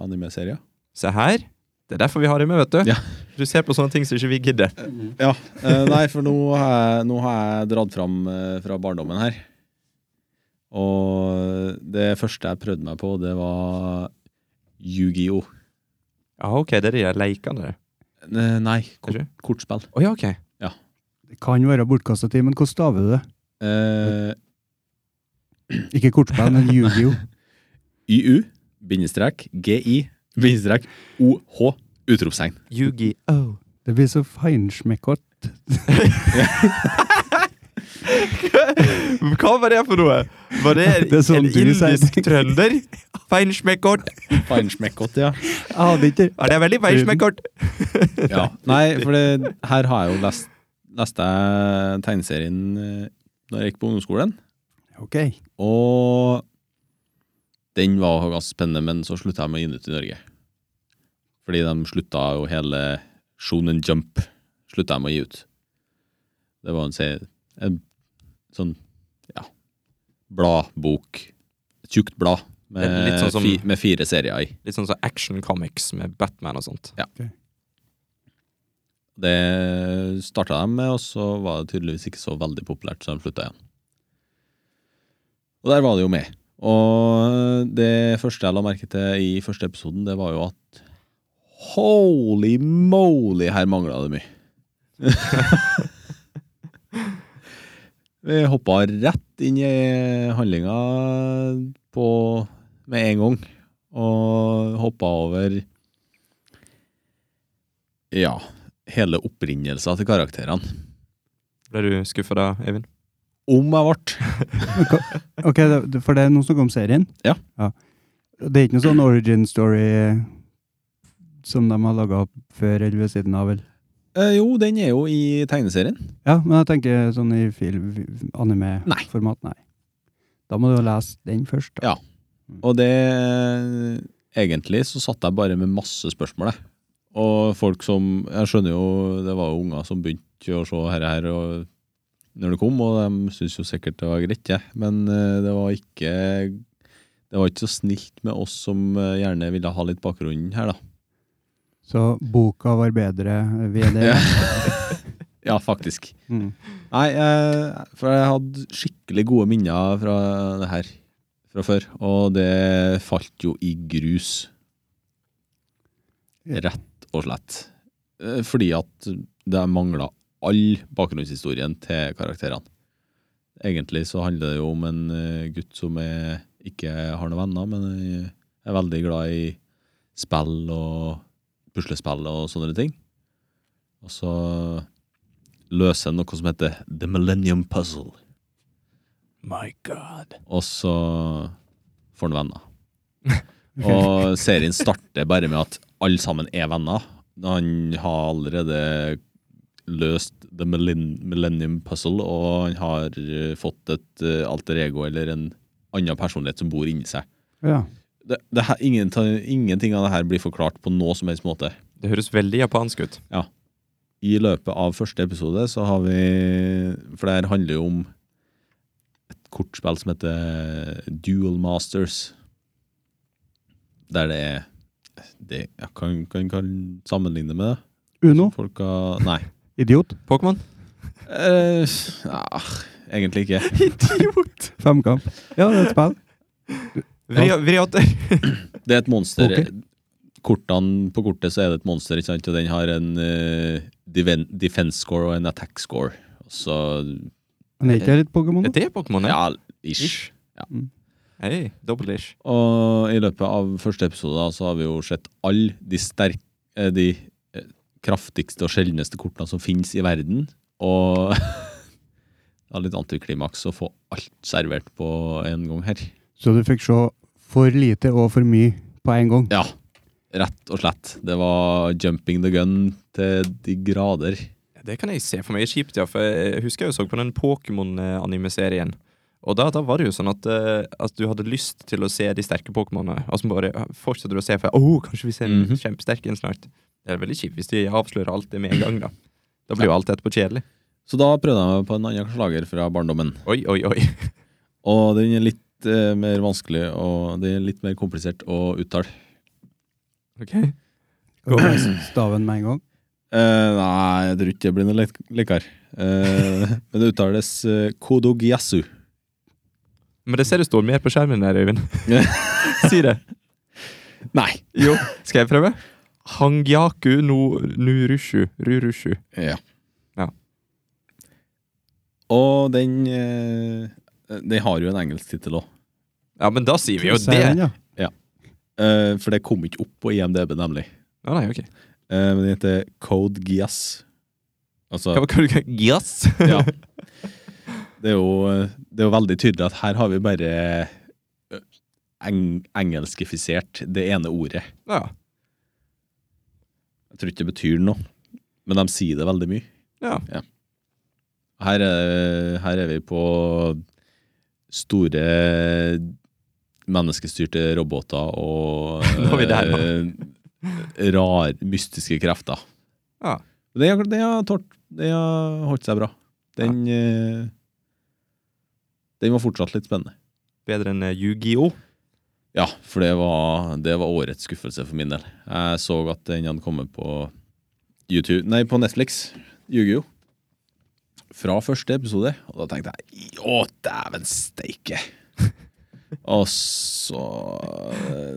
[SPEAKER 3] anime-serier.
[SPEAKER 2] Se her. Det er derfor vi har det med, vet du.
[SPEAKER 3] Ja.
[SPEAKER 2] Du ser på sånne ting som ikke vi gidder.
[SPEAKER 3] Ja, eh, nei, for nå har jeg, nå har jeg dratt fram eh, fra barndommen her. Og det første jeg prøvde meg på, det var Yu-Gi-Oh!
[SPEAKER 2] Ja, ok, det er de der leikene.
[SPEAKER 3] Eh, Nei, kort,
[SPEAKER 2] Ikke?
[SPEAKER 3] kortspill.
[SPEAKER 2] Å ja, ok.
[SPEAKER 1] Det kan være bortkasta tid, men hvordan staver du det?
[SPEAKER 3] Eh,
[SPEAKER 1] Ikke kortspill, men Yu-Gi-Oh!
[SPEAKER 3] YU, bindestrek, GI, bindestrek, OH, utropstegn.
[SPEAKER 2] Yugi-oh.
[SPEAKER 1] Det blir så feinschmeckert.
[SPEAKER 2] Hva var det for noe? Var det,
[SPEAKER 1] Det er sånn
[SPEAKER 2] en
[SPEAKER 1] du sier.
[SPEAKER 2] indisk trønder? Feinschmeckert.
[SPEAKER 3] Feinschmeckert, ja.
[SPEAKER 1] Jeg hadde ikke
[SPEAKER 2] Ja, det er veldig feinschmeckert.
[SPEAKER 3] ja. Nei, for det, her har jeg jo lest leste jeg tegneserien eh, da jeg gikk på ungdomsskolen.
[SPEAKER 1] Ok.
[SPEAKER 3] Og den var jo ganske spennende, men så slutta jeg med Inutt i Norge. Fordi de slutta jo hele Shonen Jump slutta jeg med å gi ut. Det var en, serie, en sånn ja, bladbok. Et tjukt blad med,
[SPEAKER 2] Litt sånn som-
[SPEAKER 3] fi, med fire serier i.
[SPEAKER 2] Litt sånn som action comics med Batman og sånt.
[SPEAKER 3] Det starta de med, og så var det tydeligvis ikke så veldig populært, så de slutta igjen. Og der var det jo med. Og det første jeg la merke til i første episoden, det var jo at Holy moly, her mangla det mye. Vi hoppa rett inn i handlinga på, med en gang, og hoppa over Ja hele opprinnelsen til karakterene.
[SPEAKER 2] Ble du skuffa da, Eivind?
[SPEAKER 3] Om jeg ble.
[SPEAKER 1] Ok, det- For det er noen som om serien?
[SPEAKER 3] Ja.
[SPEAKER 1] Det er ikke noe sånn origin story som de har laga opp før eller ved siden av? vel?
[SPEAKER 3] Eh, jo, den er jo i tegneserien.
[SPEAKER 1] Ja, men jeg tenker sånn i film- anime-format, nei. Da må du jo lese den først. da.
[SPEAKER 3] Ja. Og det Egentlig så satt jeg bare med masse spørsmål, jeg. Og folk som Jeg skjønner jo, det var jo unger som begynte å se her, her og når det kom, og de syntes jo sikkert det var greit, jeg. Men eh, det var ikke Det var ikke så snilt med oss som eh, gjerne ville ha litt bakgrunn her, da.
[SPEAKER 1] Så boka eh, var bedre ved det.
[SPEAKER 3] Ja, faktisk.
[SPEAKER 1] Mm.
[SPEAKER 3] Nei, eh, for jeg hadde skikkelig gode minner fra det her fra før, og det falt jo i grus.
[SPEAKER 1] Ja.
[SPEAKER 3] Rett og slett. Eh, Fordi at det mangla all bakgrunnshistorien til karakterene. Egentlig så handler det jo om en eh, gutt som er, ikke har noen venner, men eh, er veldig glad i spill og puslespill og sånne ting. Og så løse noe som heter The Millennium Puzzle.
[SPEAKER 2] My god.
[SPEAKER 3] Og så får han venner. Og serien starter bare med at alle sammen er venner. Han har allerede løst The Millen- Millennium Puzzle, og han har eh, fått et eh, alter ego eller en annen personlighet som bor inni seg.
[SPEAKER 1] Ja.
[SPEAKER 3] Det, det her, ingen, ingenting av det her blir forklart på noe som helst måte.
[SPEAKER 2] Det høres veldig japansk ut.
[SPEAKER 3] i løpet av første episode så har vi For det her handler jo om et kortspill som heter Dual Masters. Der det er det, Jeg kan, kan, kan sammenligne med det.
[SPEAKER 1] Uno,
[SPEAKER 3] Folk har Nei.
[SPEAKER 1] idiot.
[SPEAKER 2] Pokémon?
[SPEAKER 3] Eh, ja, egentlig ikke.
[SPEAKER 2] Idiot!
[SPEAKER 1] Femkamp. Ja, det er et spill.
[SPEAKER 2] Vri, vri åtte.
[SPEAKER 3] Det er et monster.
[SPEAKER 1] Ok.
[SPEAKER 3] Kortene På kortet så er det et monster, ikke sant? og den har en eh, deven- defense score og en attack score. Så
[SPEAKER 1] Men er ikke det litt Pokémon?
[SPEAKER 2] Er
[SPEAKER 1] da?
[SPEAKER 2] det Pokémon? ja?
[SPEAKER 3] ja, ish.
[SPEAKER 2] Hei, double ish.
[SPEAKER 3] Og i løpet av første episode da, så har vi jo sett alle de, sterk, eh, de eh, kraftigste og sjeldneste kortene som finnes i verden. Og det var litt antiklimaks å få alt servert på en gang her.
[SPEAKER 1] Så du fikk se for lite og for mye på en gang.
[SPEAKER 3] Ja, rett og slett. Det var jumping the gun til de grader.
[SPEAKER 2] Det kan jeg se for meg er kjipt, ja. For jeg husker jeg jo så på den Pokémon-anime-serien. Og da, da var det jo sånn at, eh, at du hadde lyst til å se de sterke Pokémonene. Og så bare eh, fortsetter du å se, for åh, kanskje vi ser en
[SPEAKER 3] Mhm.
[SPEAKER 2] kjempesterk en snart. Det er veldig kjipt hvis de avslører alt det med en gang, da. Da blir jo alt etterpå kjedelig.
[SPEAKER 3] Så da prøvde jeg meg på en annen slager fra barndommen.
[SPEAKER 2] Oi, oi, oi.
[SPEAKER 3] Og den er litt eh, mer vanskelig og det er litt mer komplisert å uttale.
[SPEAKER 2] Ok.
[SPEAKER 1] Skal du lese Staven med en gang.
[SPEAKER 3] Eh, nei, jeg tror ikke det blir noe lek lekkere. Eh, men det uttales uh, Kodogyasu.
[SPEAKER 2] Men det ser det står mer på skjermen der, Øyvind. si det.
[SPEAKER 3] Nei.
[SPEAKER 2] Jo, skal jeg prøve? Hangyaku no nurushu. Rurushu.
[SPEAKER 3] Ja.
[SPEAKER 2] Ja.
[SPEAKER 3] Og den uh, Den har jo en engelsk tittel òg.
[SPEAKER 2] Ja, men da sier vi jo
[SPEAKER 1] Sier den,
[SPEAKER 2] det!
[SPEAKER 1] ja.
[SPEAKER 3] Eh, for det kom ikke opp på IMDb, nemlig.
[SPEAKER 2] Å, nei, ok.
[SPEAKER 3] Eh, men den heter Code Gias. Altså,
[SPEAKER 2] Hva, hva, hva, yes.
[SPEAKER 3] ja. Det er, jo, eh, det er jo veldig tydelig at her har vi bare eh, eng engelskifisert det ene ordet.
[SPEAKER 2] ja.
[SPEAKER 3] Jeg tror ikke det betyr noe, men de sier det veldig mye.
[SPEAKER 2] Ja.
[SPEAKER 3] Her er, her er vi på store menneskestyrte roboter og
[SPEAKER 2] Nå er vi der,
[SPEAKER 3] eh, rar, mystiske krefter.
[SPEAKER 2] Ja.
[SPEAKER 3] Men Det har, det har, tort, det har holdt seg bra. Den, eh, den var fortsatt litt spennende.
[SPEAKER 2] Bedre enn eh, Yu-Gi-Oh!
[SPEAKER 3] Ja, for det var, det var årets skuffelse for min del. Jeg så at den hadde kommet på YouTube, nei, på Netflix. Yu-Gi-Oh! Fra første episode. Og da tenkte jeg å, dæven steike! og så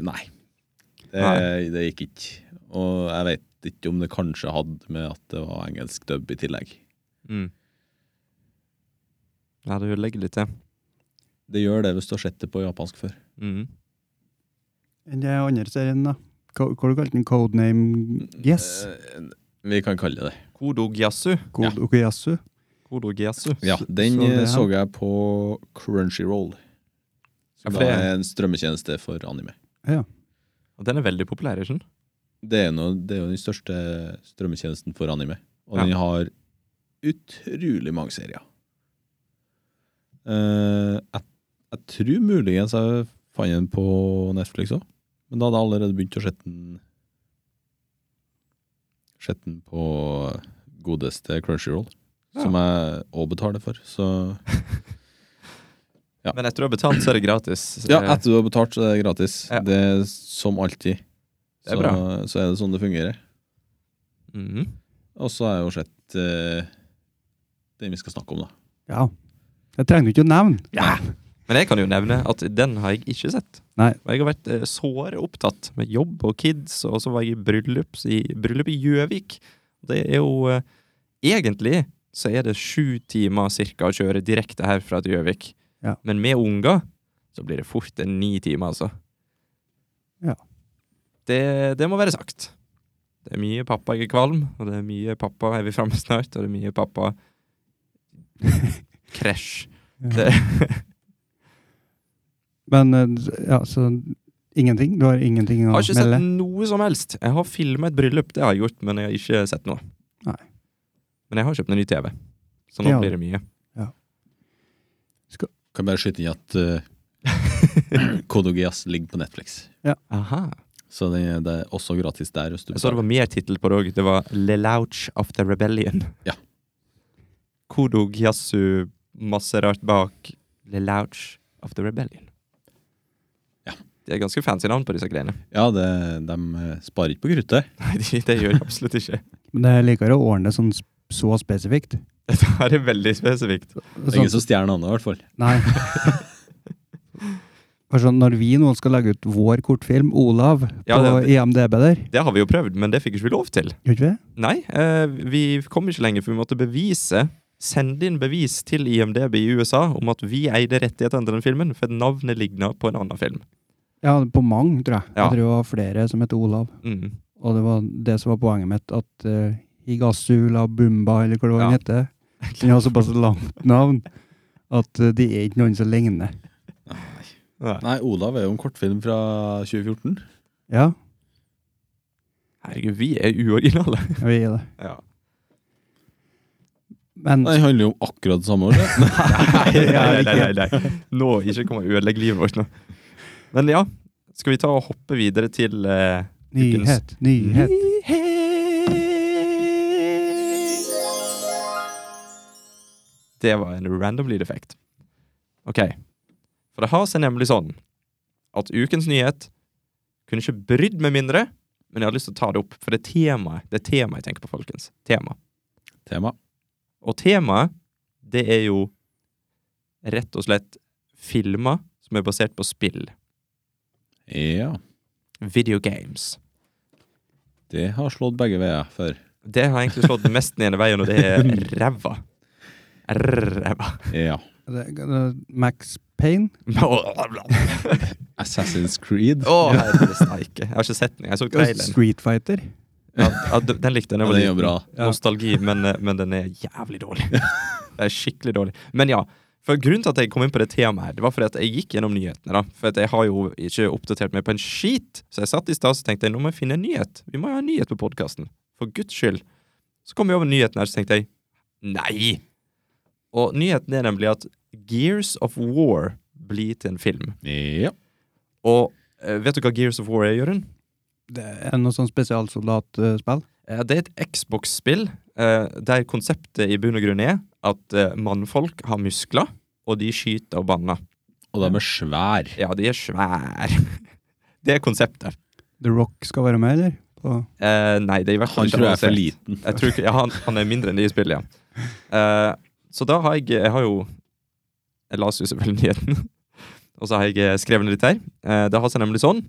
[SPEAKER 3] Nei. Det,
[SPEAKER 2] Nei.
[SPEAKER 3] det gikk ikke. Og jeg vet ikke om det kanskje hadde med at det var engelsk dub i tillegg.
[SPEAKER 2] Mm. Ja, det ødelegger litt, det.
[SPEAKER 3] Det gjør det hvis du har sett det på japansk før.
[SPEAKER 2] Mm.
[SPEAKER 1] Den der andre serien, da. Hva hva du kalte den? Codename Yes?
[SPEAKER 3] Eh, Vi kan kalle det det.
[SPEAKER 2] Kodogyasu.
[SPEAKER 1] Kod Okuyasu?
[SPEAKER 2] Kodogyasu.
[SPEAKER 3] Ja,
[SPEAKER 1] Så-
[SPEAKER 3] den
[SPEAKER 1] så det
[SPEAKER 3] eh,
[SPEAKER 1] her-
[SPEAKER 3] så jeg på Crunchyroll.
[SPEAKER 2] Ja,
[SPEAKER 3] Som
[SPEAKER 2] for
[SPEAKER 3] da
[SPEAKER 2] det-
[SPEAKER 3] er en strømmetjeneste for anime.
[SPEAKER 2] Og den er veldig populær, ikke sant?
[SPEAKER 3] Det er, noe, det er jo den største strømmetjenesten for anime. Og
[SPEAKER 2] Ja.
[SPEAKER 3] den har utrolig mange serier. Eh, jeg, jeg tror muligens jeg fant den på Netflix òg, men da hadde jeg allerede begynt å sette den Sette den på godeste Crunchyroll,
[SPEAKER 2] Ja.
[SPEAKER 3] som jeg òg betaler for. Så Ja.
[SPEAKER 2] Men etter du har betalt, så er det gratis.
[SPEAKER 3] Ja,
[SPEAKER 2] Eh,
[SPEAKER 3] etter du har betalt, så er det gratis.
[SPEAKER 2] Ja.
[SPEAKER 3] Det er som alltid.
[SPEAKER 2] Det er
[SPEAKER 3] Så, så er det sånn det fungerer.
[SPEAKER 2] mhm.
[SPEAKER 3] Og så har jeg jo sett eh, den vi skal snakke om, da.
[SPEAKER 1] Ja. Jeg trengte ikke å nevne.
[SPEAKER 2] Men jeg kan jo nevne at den har jeg ikke sett.
[SPEAKER 1] Nei.
[SPEAKER 2] Og Jeg har vært eh, såre opptatt med jobb og kids, og så var jeg i bryllup i, bryllup i Gjøvik. Det er jo eh, Egentlig så er det sju timer cirka å kjøre direkte herfra til Gjøvik.
[SPEAKER 1] Ja.
[SPEAKER 2] Men med unger så blir det fort en ni timer, altså.
[SPEAKER 1] Ja.
[SPEAKER 2] Det, det må være sagt. Det er mye pappa jeg er kvalm, og det er mye pappa er vi framme snart, og det er mye pappa krasj.
[SPEAKER 1] Ja.
[SPEAKER 2] Det,
[SPEAKER 1] Men eh, ja, så ingenting? Du har ingenting å
[SPEAKER 2] Jeg har ikke
[SPEAKER 1] melde?
[SPEAKER 2] sett noe som helst. Jeg har filma et bryllup, det har jeg gjort, men jeg har ikke sett noe.
[SPEAKER 1] Nei.
[SPEAKER 2] Men jeg har kjøpt en ny TV, så nå
[SPEAKER 1] Ja.
[SPEAKER 2] blir det mye.
[SPEAKER 3] Kan bare skyte inn at uh, Kodogias ligger på Netflix.
[SPEAKER 2] Aha.
[SPEAKER 3] Så det, det er også gratis der. Hvis du
[SPEAKER 2] Jeg så det
[SPEAKER 3] betaler.
[SPEAKER 2] var mer tittel på det òg. Det var Le Louch of the Rebellion.
[SPEAKER 3] Ja.
[SPEAKER 2] Kodo Gyasu, masse rart bak. Le Louch of the Rebellion.
[SPEAKER 3] Ja.
[SPEAKER 2] Det er ganske fancy navn på disse greiene.
[SPEAKER 3] Ja, det, de eh, sparer ikke på kruttet.
[SPEAKER 2] Nei, det, det gjør jeg absolutt ikke.
[SPEAKER 1] Men det er likere å ordne det sånn sp- så spesifikt. Sånn-
[SPEAKER 2] Dette her er veldig spesifikt.
[SPEAKER 3] Det er ingen som stjeler navnet, i hvert fall.
[SPEAKER 1] Nei. Bare sånn, når vi nå skal legge ut vår kortfilm, Olav,
[SPEAKER 2] Ja,
[SPEAKER 1] på
[SPEAKER 2] det-
[SPEAKER 1] IMDb der,
[SPEAKER 2] Det har vi jo prøvd, men det fikk ikke vi lov til.
[SPEAKER 1] gjør ikke vi?
[SPEAKER 2] Nei, eh, vi kom ikke lenger, for vi måtte bevise Sende inn bevis til IMDb i USA om at vi eide rettighetene til den filmen, for navnet ligna på en annen film.
[SPEAKER 1] Ja, på mange, tror jeg.
[SPEAKER 2] Ja.
[SPEAKER 1] Jeg tror det var flere som het Olav.
[SPEAKER 2] Mm.
[SPEAKER 1] Og det var det som var poenget mitt, at uh, Higasula Bumba, eller hva det var han
[SPEAKER 2] Ja.
[SPEAKER 1] heter, den har såpass langt navn at eh, det er ikke noen som ligner.
[SPEAKER 2] Nei.
[SPEAKER 3] Nei, Olav er jo en kortfilm fra 2014.
[SPEAKER 1] Ja,
[SPEAKER 2] Herregud, vi er uoriginale.
[SPEAKER 1] vi gir det.
[SPEAKER 2] Ja.
[SPEAKER 1] Men
[SPEAKER 3] Den handler jo om akkurat det samme. År,
[SPEAKER 2] Nei, nei, nei, nei, nei. Nå, ikke kom og ødelegg livet vårt nå. Men ja, skal vi ta og hoppe videre til eh,
[SPEAKER 1] nyhet, nyhet.
[SPEAKER 2] Det var en random lydeffekt. Ok. For det har seg nemlig sånn at ukens nyhet kunne ikke brydd meg mindre Men jeg hadde lyst til å ta det opp, for det er temaet det er temaet jeg tenker på, folkens. Tema.
[SPEAKER 3] Tema.
[SPEAKER 2] Og temaet, det er jo rett og slett filmer som er basert på spill.
[SPEAKER 3] Ja.
[SPEAKER 2] Video games.
[SPEAKER 3] Det har slått begge veier før.
[SPEAKER 2] Det har egentlig slått mest ned i veien, og det er ræva. Ræva.
[SPEAKER 3] Ja.
[SPEAKER 1] Det- det- Max Payne?
[SPEAKER 2] Å,
[SPEAKER 3] Assassin's Creed.
[SPEAKER 2] herre steike. Jeg har ikke sett den. Jeg så traileren.
[SPEAKER 1] Street Fighter?
[SPEAKER 2] Ja, ja, d- den likte jeg. da
[SPEAKER 3] Ja,
[SPEAKER 2] jeg var
[SPEAKER 3] det er jo
[SPEAKER 2] liten.
[SPEAKER 3] bra.
[SPEAKER 1] Ja.
[SPEAKER 2] Nostalgi, men, eh, men den er jævlig dårlig. Det er skikkelig dårlig. Men ja. For Grunnen til at jeg kom inn på det temaet, her, det var fordi at jeg gikk gjennom nyhetene. da. For at jeg har jo ikke oppdatert meg på en skit. Så jeg satt i stad og tenkte jeg, nå må jeg finne en nyhet. Vi må jo ha en nyhet på podkasten. For guds skyld. Så kom jeg over nyheten her, så tenkte jeg nei! Og nyheten er nemlig at Gears of War blir til en film.
[SPEAKER 3] Ja.
[SPEAKER 2] Og eh, vet du hva Gears of War er, Jørund?
[SPEAKER 1] Det er noe sånn spesialsoldatspill?
[SPEAKER 2] Eh, Det er et Xbox-spill eh, der konseptet i bunn og grunn er at eh, mannfolk har muskler, og de skyter og banner.
[SPEAKER 3] Og de er svære.
[SPEAKER 2] Ja, de er svære. Det er konseptet.
[SPEAKER 1] The Rock skal være med, eller? På
[SPEAKER 2] Eh, nei, det er i hvert fall
[SPEAKER 3] Han tror jeg er for
[SPEAKER 2] avansert.
[SPEAKER 3] liten.
[SPEAKER 2] Jeg tror ikke, ja, han, han er mindre enn de i spillet, ja. Eh, så da har jeg Jeg har jo Jeg leste jo selvfølgelig nyheten, og så har jeg eh, skrevet ned litt her. Eh, det har seg nemlig sånn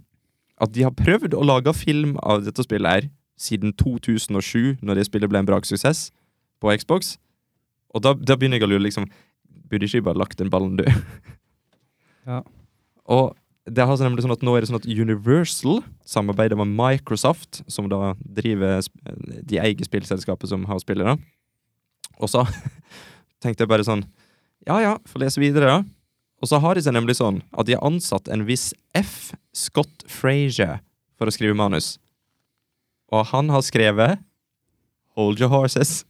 [SPEAKER 2] at de har prøvd å lage film av dette spillet her siden 2007, når det spillet ble en braksuksess på Xbox. Og da, da begynner jeg å lure, liksom Burde ikke de bare lagt den ballen død?
[SPEAKER 1] Ja.
[SPEAKER 2] Og det har seg nemlig sånn at nå er det sånn at Universal samarbeider med Microsoft, som da driver sp- De eier spillselskapet som har spillet, da. Og så tenkte jeg bare sånn Ja ja, får lese videre, da. Og så har de seg nemlig sånn at de har ansatt en viss F. Scott Frazier for å skrive manus. Og han har skrevet Hold Your Horses.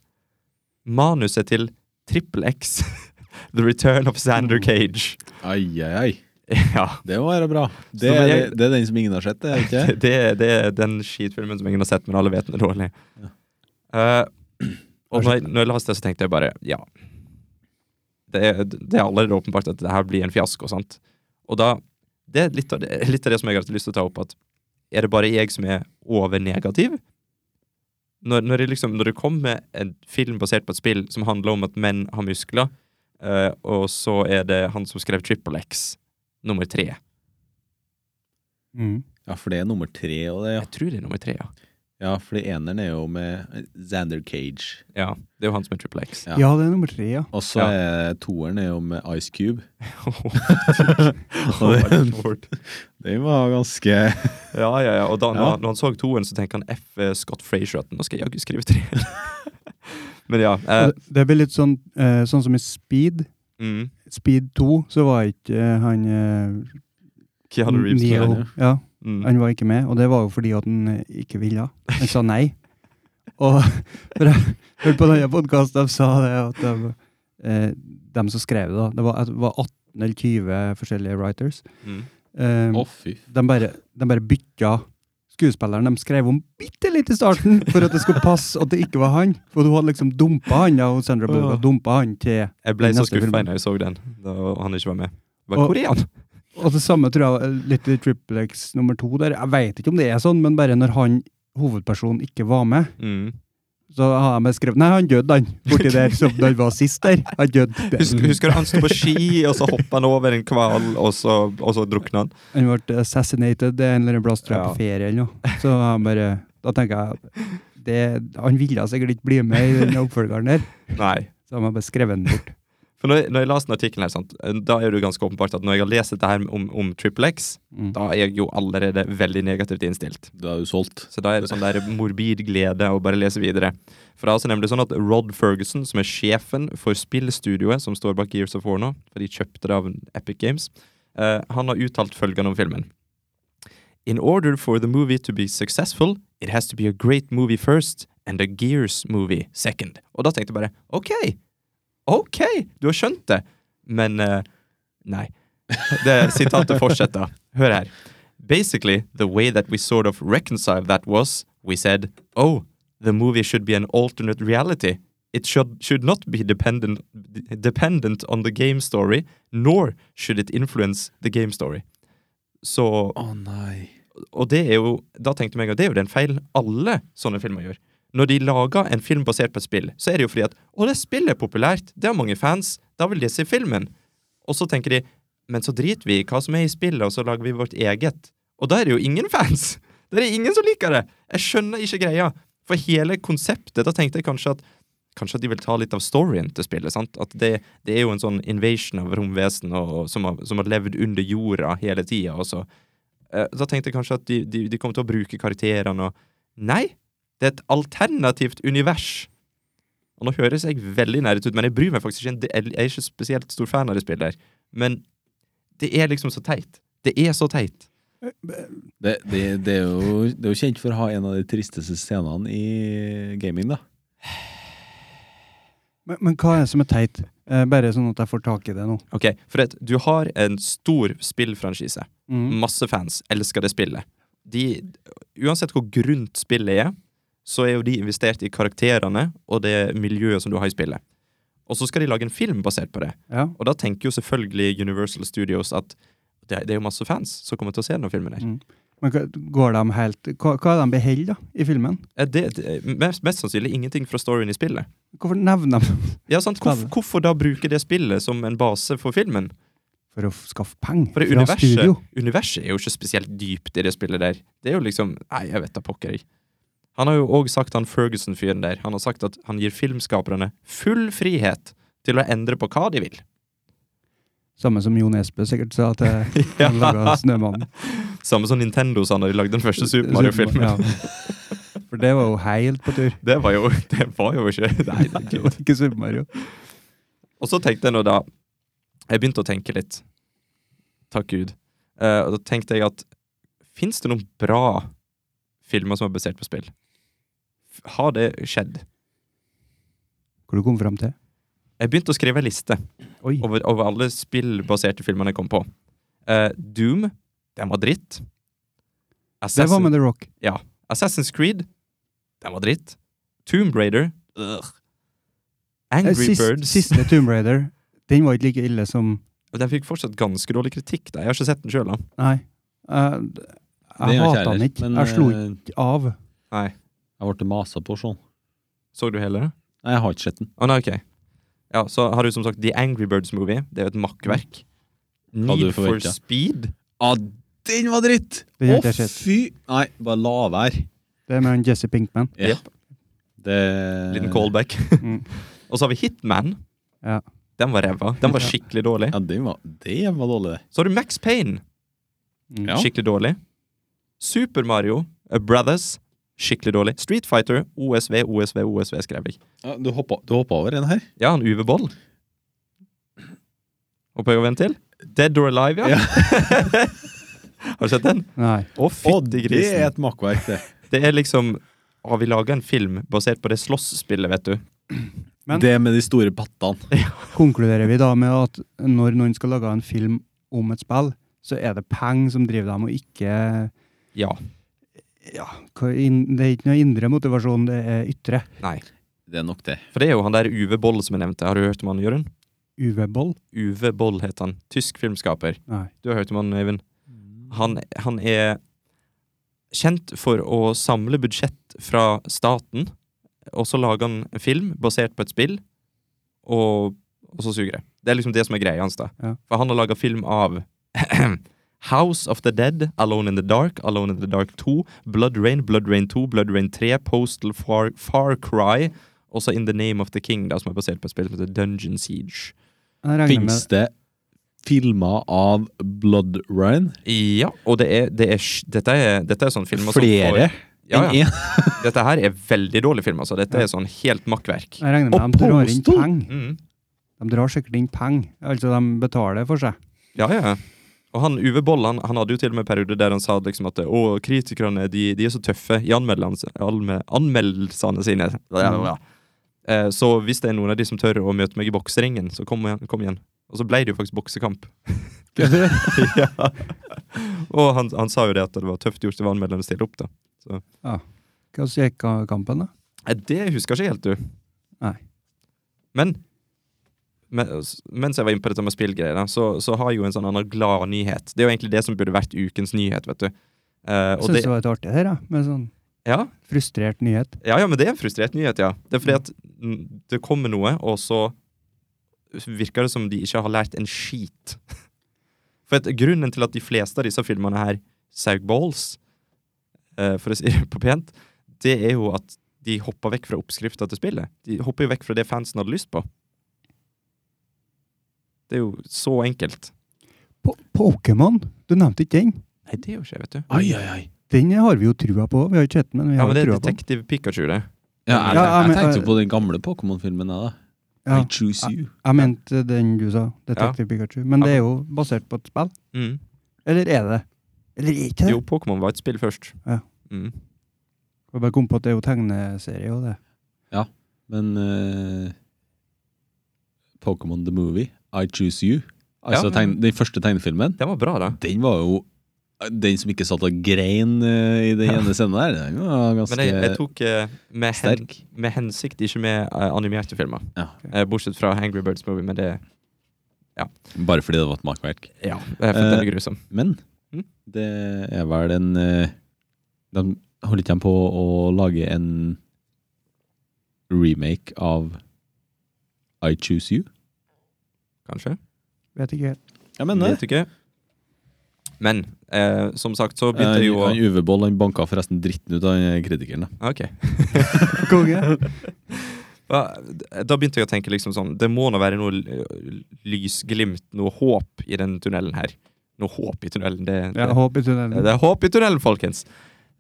[SPEAKER 2] Manuset til Triple X. The Return of Sander Cage.
[SPEAKER 3] Ai, ai, ai.
[SPEAKER 2] Ja.
[SPEAKER 3] Det må være bra. Det,
[SPEAKER 2] Så
[SPEAKER 3] er,
[SPEAKER 2] jeg-
[SPEAKER 3] det er den som ingen har sett, det er det ikke?
[SPEAKER 2] det, det er den skitfilmen som ingen har sett, men alle vet den er dårlig.
[SPEAKER 3] Ja.
[SPEAKER 2] Eh, og når jeg, når jeg leste det, så tenkte jeg bare ja. Det er, det er allerede åpenbart at det her blir en fiasko, sant. Og da Det er litt av det, litt av det som jeg har hatt lyst til å ta opp, at er det bare jeg som er overnegativ? Når, når, det liksom, når det kommer en film basert på et spill som handler om at menn har muskler, eh, og så er det han som skrev Triple X, nummer tre.
[SPEAKER 1] Mm.
[SPEAKER 3] Ja, for det er nummer tre, og det, ja.
[SPEAKER 2] Jeg tror det er nummer tre, ja.
[SPEAKER 3] Ja, for det eneren er jo med Xander Cage.
[SPEAKER 2] ja. Det er jo han som er Triple X.
[SPEAKER 3] Ja.
[SPEAKER 1] ja. det er nummer tre, ja.
[SPEAKER 3] Og så
[SPEAKER 2] Ja.
[SPEAKER 3] er toeren er jo med Ice Cube.
[SPEAKER 2] Oh, my lord.
[SPEAKER 3] Den var ganske
[SPEAKER 2] ja, ja, ja. Og da
[SPEAKER 3] Ja.
[SPEAKER 2] når, når han så toen, så tenker han F. eh, Scott Frazier at nå skal jeg jaggu skrive tre. Men ja. Eh,
[SPEAKER 1] Og Det det blir litt sånn, eh, sånn som i Speed.
[SPEAKER 2] mm,
[SPEAKER 1] Speed 2, så var ikke eh, han eh,
[SPEAKER 2] Keanu Reeves.
[SPEAKER 1] Neo-
[SPEAKER 2] tror jeg.
[SPEAKER 1] Ja,
[SPEAKER 2] Mm.
[SPEAKER 1] han var ikke med, og det var jo fordi at han eh, ikke ville. Han sa nei. Og for jeg hørte på denne podkasten, de sa det at de, eh, dem som skrev det, da Det var, det var 18 eller 20 forskjellige writers.
[SPEAKER 2] Mm.
[SPEAKER 1] Eh,
[SPEAKER 3] Å, fy.
[SPEAKER 1] de, bare, de bare bytta skuespilleren de skrev om bitte litt i starten, for at det skulle passe at det ikke var han. For hun hadde liksom dumpa han, ja, og Sandra Bullock hadde dumpa han til
[SPEAKER 2] Jeg ble
[SPEAKER 1] i
[SPEAKER 2] så
[SPEAKER 1] neste film.
[SPEAKER 2] skuffa da jeg så den, da han ikke var med. Bare,
[SPEAKER 1] Og-
[SPEAKER 2] Hvor er han?
[SPEAKER 1] Og det samme tror jeg var litt i Triple X nummer to der. Jeg veit ikke om det er sånn, men bare når han hovedpersonen ikke var med,
[SPEAKER 2] Mm.
[SPEAKER 1] så har jeg beskrevet Nei, han døde, han. Borti der som da han var sist der. Han døde. der.
[SPEAKER 2] Husker, husker du han sto på ski, og så hoppa han over en hval, og så, og så drukna han?
[SPEAKER 1] Han ble assassinated det er en eller annen plass, tror jeg,
[SPEAKER 2] Ja.
[SPEAKER 1] på ferie eller noe. Så han bare Da tenker jeg at det, Han ville sikkert ikke bli med i den oppfølgeren der,
[SPEAKER 2] Nei.
[SPEAKER 1] så han har bare skrevet den bort.
[SPEAKER 2] For når, jeg- når jeg leste den artikkelen, her, sant, da er det jo ganske åpenbart at når jeg har lest dette her om, om Triple X,
[SPEAKER 1] Mm.
[SPEAKER 2] da er jeg jo allerede veldig negativt innstilt.
[SPEAKER 3] Da er du solgt.
[SPEAKER 2] Så da er det sånn der morbid glede å bare lese videre. For det er altså nemlig sånn at Rod Ferguson, som er sjefen for spillstudioet som står bak Gears of War nå, for de kjøpte det av Epic Games, eh, han har uttalt følgende om filmen. In order for the movie to be successful, it has to be a great movie first, and a Gears movie second. Og da tenkte jeg bare, ok, ok, du har skjønt det. Men eh, nei. Det sitatet fortsetter. Hør her. Basically, the way that we sort of reconciled that was we said, oh, the movie should be an alternate reality. It should, should not be dependent, d- dependent on the game story, nor should it influence the game story. Så
[SPEAKER 3] Å nei.
[SPEAKER 2] Og det er jo, da tenkte jeg at det er jo den feil alle sånne filmer gjør. Når de lager en film basert på et spill, så er det jo fordi at å, det spillet er populært, det har mange fans, da vil de se filmen. Og så tenker de men så driter vi i hva som er i spillet, og så lager vi vårt eget. Og da er det jo ingen fans! Da er det ingen som liker det! Jeg skjønner ikke greia. For hele konseptet, da tenkte jeg kanskje at Kanskje at de vil ta litt av storyen til spillet. sant? At Det, det er jo en sånn invasion av romvesen og, og, som, har, som har levd under jorda hele tida. Eh, da tenkte jeg kanskje at de, de, de kommer til å bruke karakterene og Nei! Det er et alternativt univers. Og nå høres jeg veldig nerdete ut, men jeg bryr meg faktisk ikke. en del- Jeg er ikke spesielt stor fan av det spillet. her. Men det er liksom så teit. Det er så teit.
[SPEAKER 3] Det, det, det, er jo, det er jo kjent for å ha en av de tristeste scenene i gaming, da.
[SPEAKER 1] Men, men hva er det som er teit? Eh, bare sånn at jeg får tak i det nå.
[SPEAKER 2] Ok, For at du har en stor spillfranchise.
[SPEAKER 1] Mm.
[SPEAKER 2] Masse fans elsker det spillet. De, uansett hvor grunt spillet er, så er jo de investert i karakterene og det miljøet som du har i spillet. Og så skal de lage en film basert på det.
[SPEAKER 1] Ja.
[SPEAKER 2] Og da tenker jo selvfølgelig Universal Studios at det, det er jo masse fans som kommer til å se denne filmen. her.
[SPEAKER 1] Mm. Men hva- går de helt Hva, hva er det de beholder da, i filmen?
[SPEAKER 2] Eh, Det, det, mest, mest sannsynlig ingenting fra storyen i spillet.
[SPEAKER 1] Hvorfor nevner de
[SPEAKER 2] Ja, sant? Hvorf,
[SPEAKER 1] Spennende.
[SPEAKER 2] hvorfor da bruke det spillet som en base for filmen?
[SPEAKER 1] For å f- skaffe penger
[SPEAKER 2] For det
[SPEAKER 1] fra
[SPEAKER 2] universet,
[SPEAKER 1] studio.
[SPEAKER 2] universet er jo ikke spesielt dypt i det spillet der. Det er jo liksom Nei, jeg vet da pokker, jeg. Han har jo òg sagt, han Ferguson-fyren der, han har sagt at han gir filmskaperne full frihet til å endre på hva de vil.
[SPEAKER 1] Samme som Jon Espe sikkert sa til han laga 'Snømannen'.
[SPEAKER 2] Samme som Nintendo sa når de lagde den første Super Mario-filmen.
[SPEAKER 1] Ja. For det var jo helt på tur.
[SPEAKER 2] Det var jo Det var jo ikke Nei, det er
[SPEAKER 1] Det
[SPEAKER 2] ikke
[SPEAKER 1] var ikke Super Mario.
[SPEAKER 2] Og så tenkte jeg nå da Jeg begynte å tenke litt. Takk Gud. Eh, og da tenkte jeg at Fins det noen bra filmer som er basert på spill? F- Har det skjedd?
[SPEAKER 1] Hvor du kom fram til?
[SPEAKER 2] Jeg begynte å skrive en liste
[SPEAKER 1] Oi.
[SPEAKER 2] over, over alle spillbaserte filmene jeg kom på. Eh, Doom, den var dritt.
[SPEAKER 1] Det var
[SPEAKER 2] Assassin,
[SPEAKER 1] med The Rock.
[SPEAKER 2] Assassin's Creed, den var dritt. Tomb Raider ugh. Angry
[SPEAKER 1] Eh, sist-
[SPEAKER 2] Birds
[SPEAKER 1] Siste Tomb Raider. Den var ikke like ille som
[SPEAKER 2] Den fikk fortsatt ganske dårlig kritikk. da. Jeg har ikke sett den sjøl, da.
[SPEAKER 1] Nei. Eh, d- jeg
[SPEAKER 3] gjør
[SPEAKER 1] hata den
[SPEAKER 3] heller,
[SPEAKER 1] ikke.
[SPEAKER 3] men,
[SPEAKER 1] Jeg slo
[SPEAKER 3] eh,
[SPEAKER 1] ikke av.
[SPEAKER 2] Nei.
[SPEAKER 3] Jeg ble masa på sånn.
[SPEAKER 2] Så du hele det?
[SPEAKER 3] Nei, jeg har ikke sett den.
[SPEAKER 2] Å nei, ok. Ja, så har du som sagt The Angry Birds Movie. Det er jo et makkverk.
[SPEAKER 3] Hadde
[SPEAKER 2] Need
[SPEAKER 3] Mm. du
[SPEAKER 2] for
[SPEAKER 3] forventet.
[SPEAKER 2] Speed.
[SPEAKER 3] Ah, den var dritt!
[SPEAKER 1] Den har ikke jeg sett.
[SPEAKER 3] fy! Nei, bare la være.
[SPEAKER 1] Det er med han Jesse Pinkman.
[SPEAKER 3] Ja.
[SPEAKER 2] Jep.
[SPEAKER 3] Det Eh.
[SPEAKER 2] Liten callback.
[SPEAKER 1] Mm.
[SPEAKER 2] Og så har vi Hitman.
[SPEAKER 1] Ja.
[SPEAKER 2] Den var ræva. Den var
[SPEAKER 1] Ja.
[SPEAKER 2] skikkelig dårlig.
[SPEAKER 3] Ja, den var, det var dårlig, det.
[SPEAKER 2] Så har du Max Payne.
[SPEAKER 1] Mm.
[SPEAKER 3] Ja.
[SPEAKER 2] Skikkelig dårlig. Super Mario eh, Brothers. Skikkelig dårlig. Street Fighter. OSV, OSV, OSV, skrev jeg.
[SPEAKER 3] Ja, du hoppa, du hoppa over en her?
[SPEAKER 2] Ja, han Uwe Boll. Håper jeg går en til. Dead or Alive, ja.
[SPEAKER 3] Ja.
[SPEAKER 2] har du sett den?
[SPEAKER 1] Nei.
[SPEAKER 2] Å,
[SPEAKER 3] Å,
[SPEAKER 2] fytti
[SPEAKER 3] det
[SPEAKER 2] grisen.
[SPEAKER 3] er et makkverk, det.
[SPEAKER 2] Det er liksom Har vi laga en film basert på det slåssspillet, vet du?
[SPEAKER 1] Men-
[SPEAKER 3] det med de store pattene.
[SPEAKER 1] Konkluderer vi da med at når noen skal lage en film om et spill, så er det penger som driver dem, og ikke
[SPEAKER 2] Ja.
[SPEAKER 1] ja, hva in- Det er ikke noe indre motivasjon, det er ytre.
[SPEAKER 2] Nei.
[SPEAKER 3] Det er nok det.
[SPEAKER 2] For det er jo han der Uwe Boll som jeg nevnte. Har du hørt om han, Jørund?
[SPEAKER 1] UV-boll?
[SPEAKER 2] Uwe Boll heter han. Tysk filmskaper.
[SPEAKER 1] Nei.
[SPEAKER 2] Du har hørt om han, Øyvind? Han, han er kjent for å samle budsjett fra staten, og så lager han en film basert på et spill, og, og så suger det. Det er liksom det som er greia hans, da.
[SPEAKER 1] Ja.
[SPEAKER 2] For han har laga film av House of the Dead, Alone in the Dark, Alone in the Dark 2, Blood Rain, Blood Rain 2, Blood Rain 3, Postal Far, Far Cry, og så In the Name of the King, da, som er basert på et spill som heter Dungeon Siege.
[SPEAKER 1] Jeg regner med
[SPEAKER 3] Fins det filmer av Blood Run?
[SPEAKER 2] Ja, og det er, det er, sj- dette, er dette er sånn film altså,
[SPEAKER 3] Flere
[SPEAKER 2] Ja, ja.
[SPEAKER 3] enn én?
[SPEAKER 2] Dette her er veldig dårlig film, altså. Dette
[SPEAKER 1] Ja.
[SPEAKER 2] er sånn helt makkverk.
[SPEAKER 1] Jeg regner med
[SPEAKER 3] Og
[SPEAKER 1] de drar inn
[SPEAKER 3] postal?
[SPEAKER 1] penger.
[SPEAKER 2] Mm.
[SPEAKER 1] De drar sikkert inn penger. Altså, de betaler for seg.
[SPEAKER 2] Ja, ja. Og han Uwe Boll han, han hadde jo til og med perioder der han sa liksom at å, kritikerne de, de er så tøffe i anmeldelsene, anme, anmeldelsene sine. Ja, ja, ja. Eh, Så hvis det er noen av de som tør å møte meg i bokseringen, så kom igjen. Kom igjen. Og så ble det jo faktisk boksekamp. ja. Og han, han sa jo det at det var tøft gjort av anmelderne å stille opp, da.
[SPEAKER 1] Hva så gikk av kampen, da?
[SPEAKER 2] Nei, Det husker jeg ikke helt, du.
[SPEAKER 1] Nei.
[SPEAKER 2] Men men- mens jeg var inne på dette med spillgreier, da, så, så har jeg jo en sånn annen glad nyhet. Det er jo egentlig det som burde vært ukens nyhet, vet du. Eh,
[SPEAKER 1] Jeg
[SPEAKER 2] og
[SPEAKER 1] syns
[SPEAKER 2] det,
[SPEAKER 1] det var litt artig her, jeg, med sånn
[SPEAKER 2] ja,
[SPEAKER 1] frustrert nyhet.
[SPEAKER 2] ja, ja, men det er en frustrert nyhet, ja. Det er fordi at mm, det kommer noe, og så virker det som de ikke har lært en skit. For at grunnen til at de fleste av disse filmene her saug balls, eh, for å si det på pent, det er jo at de hopper vekk fra oppskrifta til spillet. De hopper jo vekk fra det fansen hadde lyst på. Det er jo så enkelt.
[SPEAKER 1] Po- Pokémon, du nevnte ikke den.
[SPEAKER 2] Nei, det er jo ikke, vet du.
[SPEAKER 3] Ai, ai, ai.
[SPEAKER 1] Den har vi jo trua på. Vi har ikke sett den, men vi
[SPEAKER 2] Ja,
[SPEAKER 1] har
[SPEAKER 2] men
[SPEAKER 1] jo
[SPEAKER 2] det er
[SPEAKER 1] trua på den.
[SPEAKER 2] Detektiv Pikachu, det.
[SPEAKER 3] Ja, jeg,
[SPEAKER 1] Ja, ja,
[SPEAKER 3] jeg
[SPEAKER 1] men-
[SPEAKER 3] tenkte jo på den gamle Pokémon-filmen. jeg, da.
[SPEAKER 1] Ja,
[SPEAKER 3] I choose you.
[SPEAKER 1] jeg mente den du sa, Detektiv Pikachu. Men
[SPEAKER 2] Ja.
[SPEAKER 1] det er jo basert på et spill.
[SPEAKER 2] Mm.
[SPEAKER 1] Eller er det? Eller er ikke det?
[SPEAKER 2] Jo, Pokémon var et spill først.
[SPEAKER 1] Ja.
[SPEAKER 2] Mm.
[SPEAKER 1] Jeg bare kom på at det er jo tegneserie og det.
[SPEAKER 3] Men eh, Pokémon the Movie, I choose you, altså
[SPEAKER 2] Ja.
[SPEAKER 3] tegn, den første tegnefilmen,
[SPEAKER 2] Den var bra, da.
[SPEAKER 3] den var jo Den som ikke satt og grein eh, i den
[SPEAKER 2] Ja.
[SPEAKER 3] ene scenen der, den var ganske
[SPEAKER 2] Men jeg, jeg tok eh, med, hen,
[SPEAKER 3] sterk.
[SPEAKER 2] med hensikt, ikke med eh, animerte filmer.
[SPEAKER 3] Ja.
[SPEAKER 2] Eh, bortsett fra Angry Birds Movie, men det
[SPEAKER 3] Bare fordi det var et makverk.
[SPEAKER 2] Ja,
[SPEAKER 3] Eh,
[SPEAKER 2] jeg fikk den er grusom.
[SPEAKER 3] Men
[SPEAKER 2] Mm.
[SPEAKER 3] det er vel en eh, De holder ikke de på å lage en remake av I choose you?
[SPEAKER 2] Kanskje.
[SPEAKER 1] Vet ikke helt.
[SPEAKER 3] Jeg
[SPEAKER 2] Vet ikke. Men eh, som sagt, så begynte det jo å
[SPEAKER 3] Han Uwe Boll han banka forresten dritten ut av den kritikeren. da.
[SPEAKER 2] Ok.
[SPEAKER 1] Konge.
[SPEAKER 2] Da, da begynte jeg å tenke liksom sånn Det må nå være noe l- lysglimt, noe håp i den tunnelen her. Noe håp i tunnelen. Det, det,
[SPEAKER 1] Ja, håp i tunnelen.
[SPEAKER 2] Det er håp i tunnelen, folkens!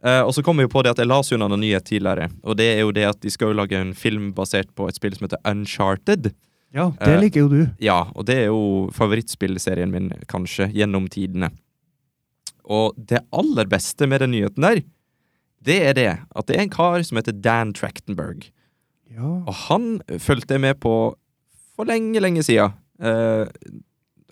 [SPEAKER 2] Eh, og så kom jeg jo på det at jeg las unna noen nyhet tidligere. Og det er jo det at de skal jo lage en film basert på et spill som heter Uncharted.
[SPEAKER 1] Ja, det
[SPEAKER 2] Eh,
[SPEAKER 1] liker jo du.
[SPEAKER 2] Ja, og det er jo favorittspillserien min, kanskje, gjennom tidene. Og det aller beste med den nyheten der, det er det at det er en kar som heter Dan Trachtenberg.
[SPEAKER 1] Ja.
[SPEAKER 2] Og han fulgte jeg med på for lenge, lenge siden. Eh,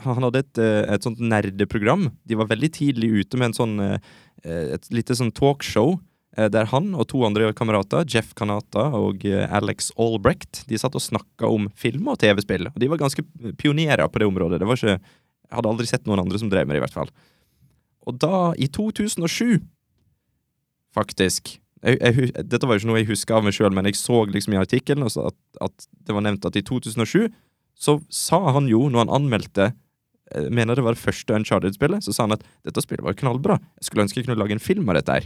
[SPEAKER 2] han hadde et, eh, et sånt nerdeprogram. De var veldig tidlig ute med en sånn, eh, eh, et lite sånn talkshow eh, der han og to andre kamerater, Jeff Kanata og eh, Alex Albrecht, de satt og snakka om film og TV-spill. Og de var ganske pionerer på det området. Det var ikke, jeg hadde aldri sett noen andre som drev med det, i hvert fall. Og da, i 2007, faktisk jeg, jeg, hu- Dette var jo ikke noe jeg husker av meg sjøl, men jeg så liksom i artikkelen også at, at det var nevnt at i 2007 så sa han jo, når han anmeldte eh, Mener det var det første Uncharted-spillet, så sa han at dette spillet var knallbra. Jeg skulle ønske jeg kunne lage en film av dette her.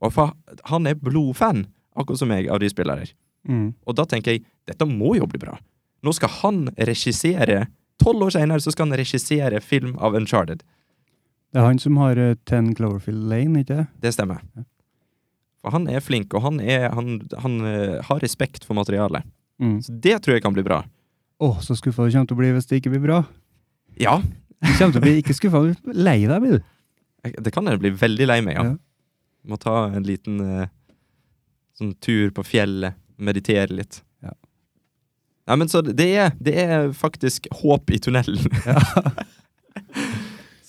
[SPEAKER 2] Og for han er blodfan, akkurat som meg, av de spillene her.
[SPEAKER 1] Mm.
[SPEAKER 2] Og da tenker jeg dette må jo bli bra. Nå skal han regissere Tolv år senere så skal han regissere film av Uncharted.
[SPEAKER 1] Det er han som har eh, 10 Cloverfield Lane, ikke det?
[SPEAKER 2] Det stemmer.
[SPEAKER 1] Ja.
[SPEAKER 2] For han er flink, og han, er, han, han eh, har respekt for materialet.
[SPEAKER 1] Mm.
[SPEAKER 2] Så det tror jeg kan bli bra.
[SPEAKER 1] Åh, så skuffa du kommer til å bli hvis det ikke blir bra.
[SPEAKER 2] Ja,
[SPEAKER 1] Du kommer til å bli ikke skuffa, du blir lei deg, blir du.
[SPEAKER 2] Jeg- Det kan jeg bli veldig lei meg av.
[SPEAKER 1] Ja.
[SPEAKER 2] Må ta en liten eh, sånn tur på fjellet, meditere litt.
[SPEAKER 1] Ja.
[SPEAKER 2] Nei, men så det er, det er faktisk håp i tunnelen.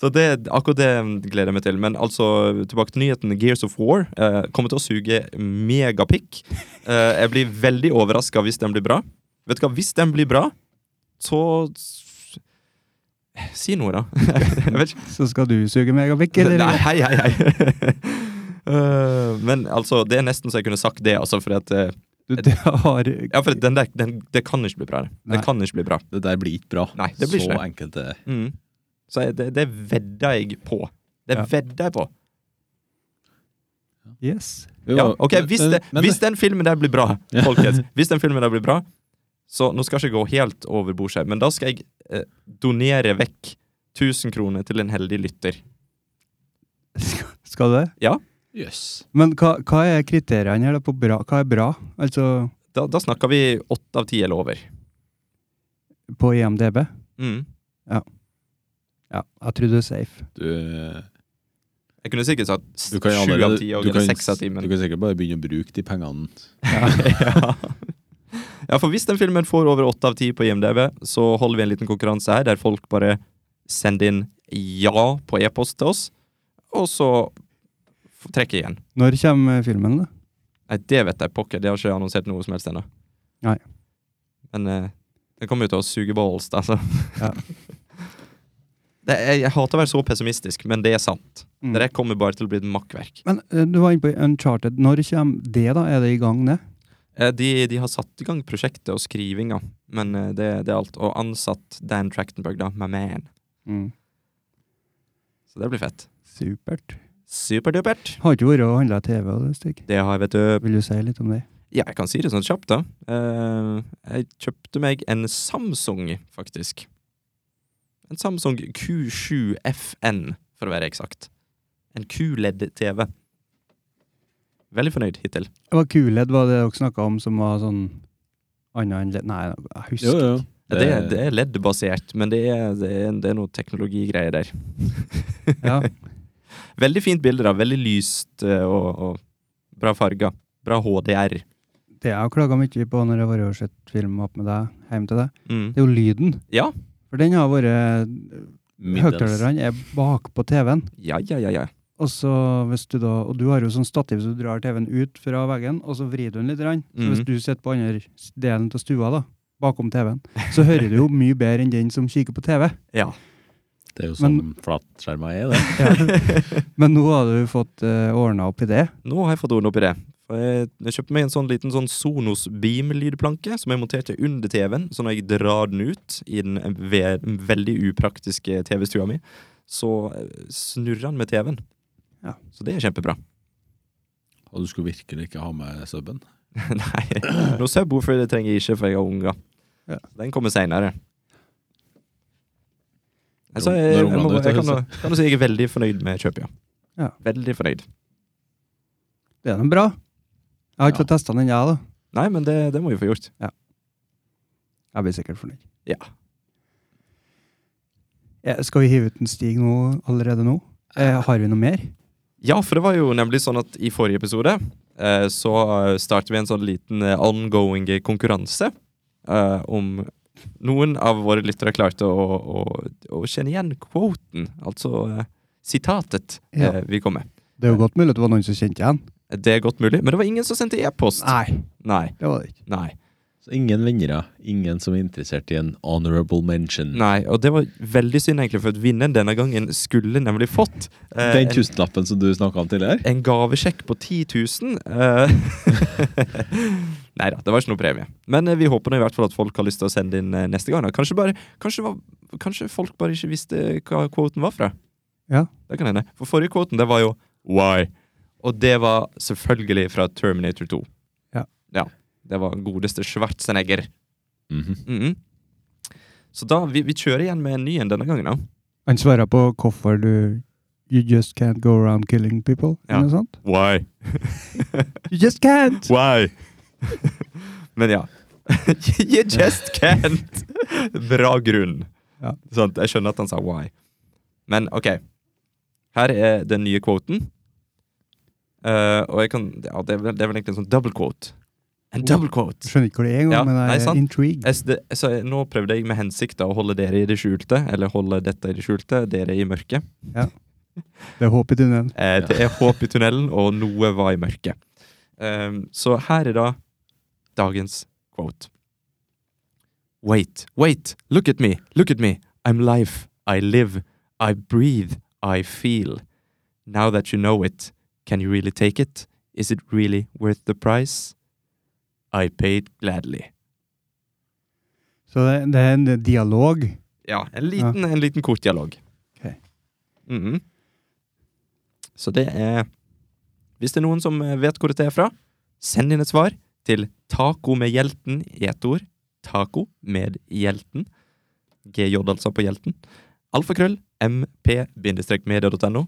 [SPEAKER 2] så det, akkurat det gleder jeg meg til. Men altså, tilbake til nyheten. Gears of War eh, kommer til å suge megapikk. Eh, jeg blir veldig overraska hvis den blir bra. Vet du hva, hvis den blir bra, så s- Si noe, da. jeg vet ikke.
[SPEAKER 1] Så skal du suge megapikk, eller?
[SPEAKER 2] Nei, hei, hei, hei. Øh, men altså, det er nesten så jeg kunne sagt det, altså, fordi at eh,
[SPEAKER 1] Du, det har
[SPEAKER 2] Ja, for den der, den, det kan ikke bli bra. Det,
[SPEAKER 1] Nei.
[SPEAKER 2] det kan ikke bli bra.
[SPEAKER 3] Det der blir ikke bra.
[SPEAKER 2] Nei, det blir
[SPEAKER 3] så
[SPEAKER 2] ikke det.
[SPEAKER 3] enkelt er det.
[SPEAKER 2] Mm. Så jeg, det, det vedder jeg på. Det
[SPEAKER 1] Ja.
[SPEAKER 2] vedder jeg på.
[SPEAKER 1] Yes.
[SPEAKER 2] Ja, ok, hvis,
[SPEAKER 3] Men-
[SPEAKER 2] det,
[SPEAKER 3] men-
[SPEAKER 2] hvis den filmen der blir bra,
[SPEAKER 3] Ja.
[SPEAKER 2] folkens Hvis den filmen der blir bra, så nå skal jeg ikke gå helt over bords her, men da skal jeg eh, donere vekk 1000 kroner til en heldig lytter.
[SPEAKER 1] Skal du det?
[SPEAKER 3] Jøss.
[SPEAKER 1] Men hva, hva er kriteriene her da på bra? Hva er bra? Altså
[SPEAKER 2] Da, da snakker vi åtte av ti eller over.
[SPEAKER 1] på IMDb?
[SPEAKER 2] Mm.
[SPEAKER 1] Ja, jeg tror du er safe.
[SPEAKER 3] Du,
[SPEAKER 2] Jeg kunne sikkert sagt
[SPEAKER 3] du kan
[SPEAKER 2] sju
[SPEAKER 3] jo
[SPEAKER 2] av
[SPEAKER 3] allerede
[SPEAKER 2] ti
[SPEAKER 3] du
[SPEAKER 2] eller
[SPEAKER 3] kan,
[SPEAKER 2] seks av ti, men
[SPEAKER 3] Du kan sikkert bare begynne å bruke de pengene.
[SPEAKER 2] ja. ja, for hvis den filmen får over åtte av ti på IMDb, så holder vi en liten konkurranse her der folk bare sender inn ja på e-post til oss, og så f- trekker jeg igjen.
[SPEAKER 1] Når kommer filmen, da?
[SPEAKER 2] Nei, det vet jeg pokker. Det har ikke annonsert noe som helst ennå.
[SPEAKER 1] Nei.
[SPEAKER 2] Men eh, den kommer jo til å suge balls, altså. Det, jeg, jeg hater å være så pessimistisk, men det er sant.
[SPEAKER 1] Mm.
[SPEAKER 2] Det der kommer bare til å bli et makkverk.
[SPEAKER 1] Men eh, du var inne på Uncharted. Når kommer det, da? Er det i gang, det?
[SPEAKER 2] Eh, De, de har satt i gang prosjektet og skrivinga, men eh, det, det er alt. Og ansatt Dan Trachtenberg, da, my man.
[SPEAKER 1] Mm.
[SPEAKER 2] Så det blir fett.
[SPEAKER 1] Supert.
[SPEAKER 2] Superdupert!
[SPEAKER 1] Har ikke vært og handla TV og det, Stig.
[SPEAKER 2] Det har jeg, vet du.
[SPEAKER 1] Vil du si litt om det?
[SPEAKER 2] Ja, jeg kan si det sånn kjapt, da. Eh, jeg kjøpte meg en Samsung, faktisk. En Samsung Q7FN, for å være eksakt. En QLED-TV. Veldig fornøyd hittil.
[SPEAKER 1] Det var Kuled, var det dere snakka om, som var sånn annet enn led- Nei, jeg husker
[SPEAKER 3] Jo, Eh, jo.
[SPEAKER 2] Ja, det, det er LED-basert, men det er, det er, det er noe teknologigreier der.
[SPEAKER 1] ikke. Ja.
[SPEAKER 2] Veldig fint bilde, da. Veldig lyst eh, og, og bra farger. Bra HDR.
[SPEAKER 1] Det jeg har klaga mye på når jeg har vært og sett film opp med deg hjem til deg,
[SPEAKER 2] Mm.
[SPEAKER 1] det er jo lyden.
[SPEAKER 2] Ja.
[SPEAKER 1] For den har vært
[SPEAKER 3] Middels.
[SPEAKER 1] Høyttalerne er bakpå TV-en.
[SPEAKER 2] Ja, ja, ja, ja.
[SPEAKER 1] Og så hvis du da, og du har jo sånn stativ, så du drar TV-en ut fra veggen, og så vrir du den litt. grann. Så hvis
[SPEAKER 2] Mhm.
[SPEAKER 1] du sitter på andre delen av stua, da, bakom TV-en, så hører du jo mye bedre enn den som kikker på TV.
[SPEAKER 2] ja.
[SPEAKER 3] Det er jo sånn
[SPEAKER 1] Men-
[SPEAKER 3] flatskjerma er, det.
[SPEAKER 1] Men nå har du fått uh, ordna opp i det.
[SPEAKER 2] Nå har jeg fått ordne opp i det. For jeg, jeg kjøpte meg en sånn liten sånn Sonos Beam-lydplanke som jeg monterte under TV-en. Så når jeg drar den ut i den ve veldig upraktiske TV-stua mi, så eh, snurrer den med TV-en.
[SPEAKER 1] Ja.
[SPEAKER 2] Så det er kjempebra.
[SPEAKER 3] Og du skulle virkelig ikke ha med subben.
[SPEAKER 2] Nei, noe subwoofer det trenger jeg ikke, for jeg har unger.
[SPEAKER 1] Ja.
[SPEAKER 2] Den kommer seinere. Altså,
[SPEAKER 3] Når
[SPEAKER 2] jeg, jeg,
[SPEAKER 3] ungene
[SPEAKER 2] må,
[SPEAKER 3] er ute av
[SPEAKER 2] jeg kan,
[SPEAKER 3] huset.
[SPEAKER 2] nå- kan nå si jeg er veldig fornøyd med kjøpet,
[SPEAKER 1] Ja.
[SPEAKER 2] Veldig fornøyd.
[SPEAKER 1] Det er nå bra. Jeg har ikke
[SPEAKER 3] Ja.
[SPEAKER 1] fått testa den, jeg, da.
[SPEAKER 2] Nei, men det, det må vi få gjort.
[SPEAKER 1] Jeg blir sikkert fornøyd.
[SPEAKER 2] Ja.
[SPEAKER 1] Ja, Eh, skal vi hive ut en Stig nå, allerede nå? Eh, har vi noe mer?
[SPEAKER 2] Ja, for det var jo nemlig sånn at i forrige episode eh, så eh, startet vi en sånn liten eh, ongoing konkurranse eh, om noen av våre lyttere klarte å, å, å kjenne igjen quoten, altså eh, sitatet
[SPEAKER 1] Ja.
[SPEAKER 2] eh, vi kom med.
[SPEAKER 1] Det er jo godt mulig at det var noen som kjente igjen.
[SPEAKER 2] Det er godt mulig, men det var ingen som sendte e-post.
[SPEAKER 1] Nei,
[SPEAKER 2] Nei,
[SPEAKER 1] det var det ikke.
[SPEAKER 2] nei,
[SPEAKER 3] Så ingen vinnere. Ingen som er interessert i en honorable mention.
[SPEAKER 2] nei. Og det var veldig synd, egentlig, for at vinneren denne gangen skulle nemlig fått eh,
[SPEAKER 3] Den
[SPEAKER 2] en-
[SPEAKER 3] tusenlappen som du snakka om tidligere?
[SPEAKER 2] en gavesjekk på 10 000. Nei da, det var ikke noe premie. Men eh, vi håper nå i hvert fall at folk har lyst til å sende inn eh, neste gang. Da. Kanskje, bare, kanskje, det var, kanskje folk bare ikke visste hva quoten var fra.
[SPEAKER 1] Ja.
[SPEAKER 2] Det kan hende. For forrige quoten, det var jo Why? Og det var selvfølgelig fra Terminator 2.
[SPEAKER 1] Ja.
[SPEAKER 2] Det var godeste Schwarzenegger.
[SPEAKER 3] Mhm.
[SPEAKER 2] Mhm. Så da, vi, vi kjører igjen med en ny en denne gangen, da.
[SPEAKER 1] Han svarer på hvorfor du You just can't go around killing people.
[SPEAKER 2] Ja.
[SPEAKER 1] Eller noe sånt.
[SPEAKER 2] Why?
[SPEAKER 1] You just can't!
[SPEAKER 2] Why? Men ja. you just can't! Bra grunn.
[SPEAKER 1] Ja.
[SPEAKER 2] Sant? jeg skjønner at han sa why. Men OK. Her er den nye quoten. Eh, og jeg kan ja, det, er vel, det er vel egentlig en sånn double quote. En double quote!
[SPEAKER 1] Skjønner ikke hvor det er engang,
[SPEAKER 2] Ja,
[SPEAKER 1] men
[SPEAKER 2] nei,
[SPEAKER 1] jeg er
[SPEAKER 2] sant.
[SPEAKER 1] intrigued.
[SPEAKER 2] Jeg, s- det, så jeg, nå prøvde jeg med hensikt da å holde dere i det skjulte, eller holde dette i det skjulte, dere i mørket.
[SPEAKER 1] Det er håp i tunnelen.
[SPEAKER 2] Eh, det er håp i tunnelen, og noe var i mørket. Ehm, så her er da dagens quote. Wait, wait, look at me, look at me. I'm life, I live, I breathe, I feel. Now that you know it, can you really take it? Is it really worth the price? I paid gladly.
[SPEAKER 1] Så det, det er en dialog.
[SPEAKER 2] Ja, en liten, en liten kort dialog.
[SPEAKER 1] Ok.
[SPEAKER 2] Mhm. Så det er Hvis det er noen som vet hvor dette er fra, send inn et svar til taco med hjelten i ett ord. Taco med hjelten. GJ altså på hjelten. Alfakrøll mp-media.no.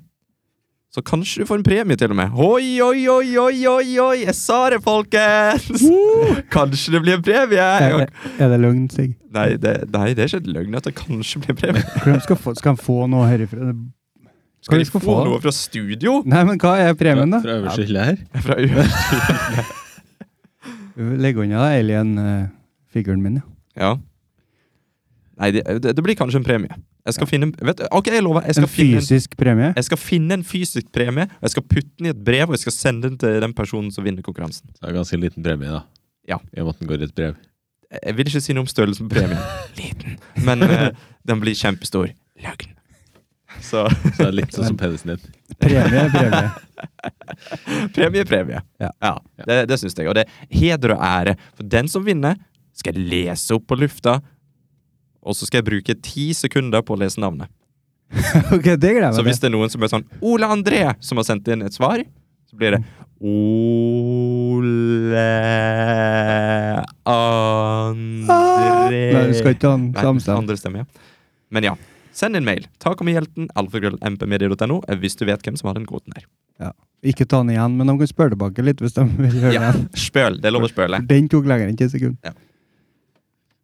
[SPEAKER 2] Så kanskje du får en premie, til og med. Oi, oi, oi, oi, oi, oi! Jeg sa det, folkens! Kanskje det blir en premie!
[SPEAKER 1] Er, det- er det løgn, Stig?
[SPEAKER 2] Nei, det, nei, det er ikke et løgn at det kanskje blir premie.
[SPEAKER 1] Hvordan Skal, få, skal han få noe herifra?
[SPEAKER 2] Skal
[SPEAKER 1] Hvordan
[SPEAKER 2] vi få noe fra studio?
[SPEAKER 1] Nei, men hva er premien, da?
[SPEAKER 3] Fra øverste hylle her.
[SPEAKER 2] Fra U-
[SPEAKER 1] Legg unna alien-figuren min, ja.
[SPEAKER 2] ja. Nei, det, det, det blir kanskje en premie. Jeg skal finne en vet, du, Ok, jeg lover.
[SPEAKER 1] En
[SPEAKER 2] Jeg skal, finne en,
[SPEAKER 1] fysisk premie.
[SPEAKER 2] jeg skal finne en fysisk premie, og jeg skal putte den i et brev, og jeg skal sende den til den personen som vinner konkurransen.
[SPEAKER 3] Så det er ganske liten premie, da.
[SPEAKER 2] Ja.
[SPEAKER 3] I og med at den går i et brev.
[SPEAKER 2] Jeg- Jeg vil ikke si noe om størrelsen på premien. Liten. Men eh, den blir kjempestor. Løgn. Så
[SPEAKER 3] Så det er litt sånn som penisen din.
[SPEAKER 1] Premie, premie.
[SPEAKER 2] premie, premie.
[SPEAKER 1] Ja.
[SPEAKER 2] Det, det syns jeg. Og det er heder og ære. For den som vinner, skal jeg lese opp på lufta, og så skal jeg bruke ti sekunder på å lese navnet.
[SPEAKER 1] ok, det gleder jeg
[SPEAKER 2] Så
[SPEAKER 1] meg
[SPEAKER 2] hvis
[SPEAKER 1] til.
[SPEAKER 2] det er noen som er sånn Ole André, som har sendt inn et svar, så blir det Ole André
[SPEAKER 1] Nei, du skal ikke ha en
[SPEAKER 2] Nei,
[SPEAKER 1] samstemt.
[SPEAKER 2] andre stemmer, ja. Men ja. Send en mail. Ta Kamehjelten, alfagrøllmpmedia.no, eh, hvis du vet hvem som har den kvoten her.
[SPEAKER 1] Ikke ta den igjen, men de kan spørre tilbake litt hvis de vil høre
[SPEAKER 2] Ja,
[SPEAKER 1] den.
[SPEAKER 2] spøl. Det er lov å spøle.
[SPEAKER 1] Den tok lenger enn 10 sekunder.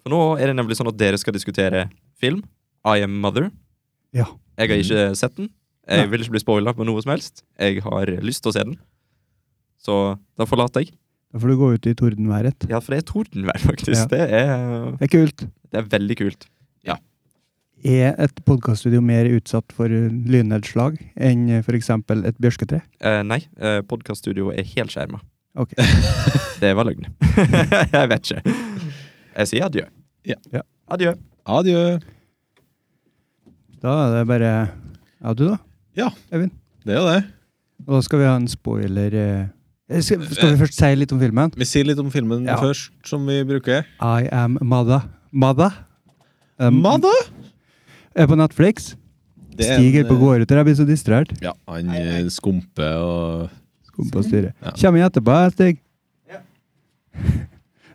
[SPEAKER 2] For nå er det nemlig sånn at dere skal diskutere film. I Am Mother.
[SPEAKER 1] Ja.
[SPEAKER 2] Jeg
[SPEAKER 1] Mm.
[SPEAKER 2] har ikke sett den. Jeg
[SPEAKER 1] Nei.
[SPEAKER 2] vil ikke bli spoila på noe som helst. Jeg har lyst til å se den. Så da forlater jeg.
[SPEAKER 1] Da får du gå ut i tordenværet.
[SPEAKER 2] Ja, for det er tordenvær, faktisk.
[SPEAKER 1] Ja.
[SPEAKER 2] Det, er,
[SPEAKER 1] Det er kult.
[SPEAKER 2] det er veldig kult.
[SPEAKER 1] Er et podkaststudio mer utsatt for lynnedslag enn f.eks. et bjørsketre?
[SPEAKER 2] Eh, nei, uh, podkaststudioet er helt skjerma.
[SPEAKER 1] Ok.
[SPEAKER 2] Det var løgn. jeg vet ikke. Jeg sier adjø.
[SPEAKER 3] Ja.
[SPEAKER 1] Ja.
[SPEAKER 2] Adjø.
[SPEAKER 3] Adjø.
[SPEAKER 1] Da er det bare Ja, du, da?
[SPEAKER 3] Det er jo det.
[SPEAKER 1] Og da skal vi ha en spoiler eh. Eh, Skal, skal vi først si litt om filmen?
[SPEAKER 3] Vi sier litt om filmen
[SPEAKER 1] Ja.
[SPEAKER 3] først, som vi bruker.
[SPEAKER 1] I Am Mother. Mother? Um,
[SPEAKER 3] Mada!
[SPEAKER 1] Er på Netflix.
[SPEAKER 3] Det er en,
[SPEAKER 1] Stiger på
[SPEAKER 3] eh,
[SPEAKER 1] går ut, og jeg blir så distrahert.
[SPEAKER 3] Ja, han eh, skumper og
[SPEAKER 1] Kom på styret.
[SPEAKER 3] Ja.
[SPEAKER 1] Kommer inn etterpå, jeg, Stig.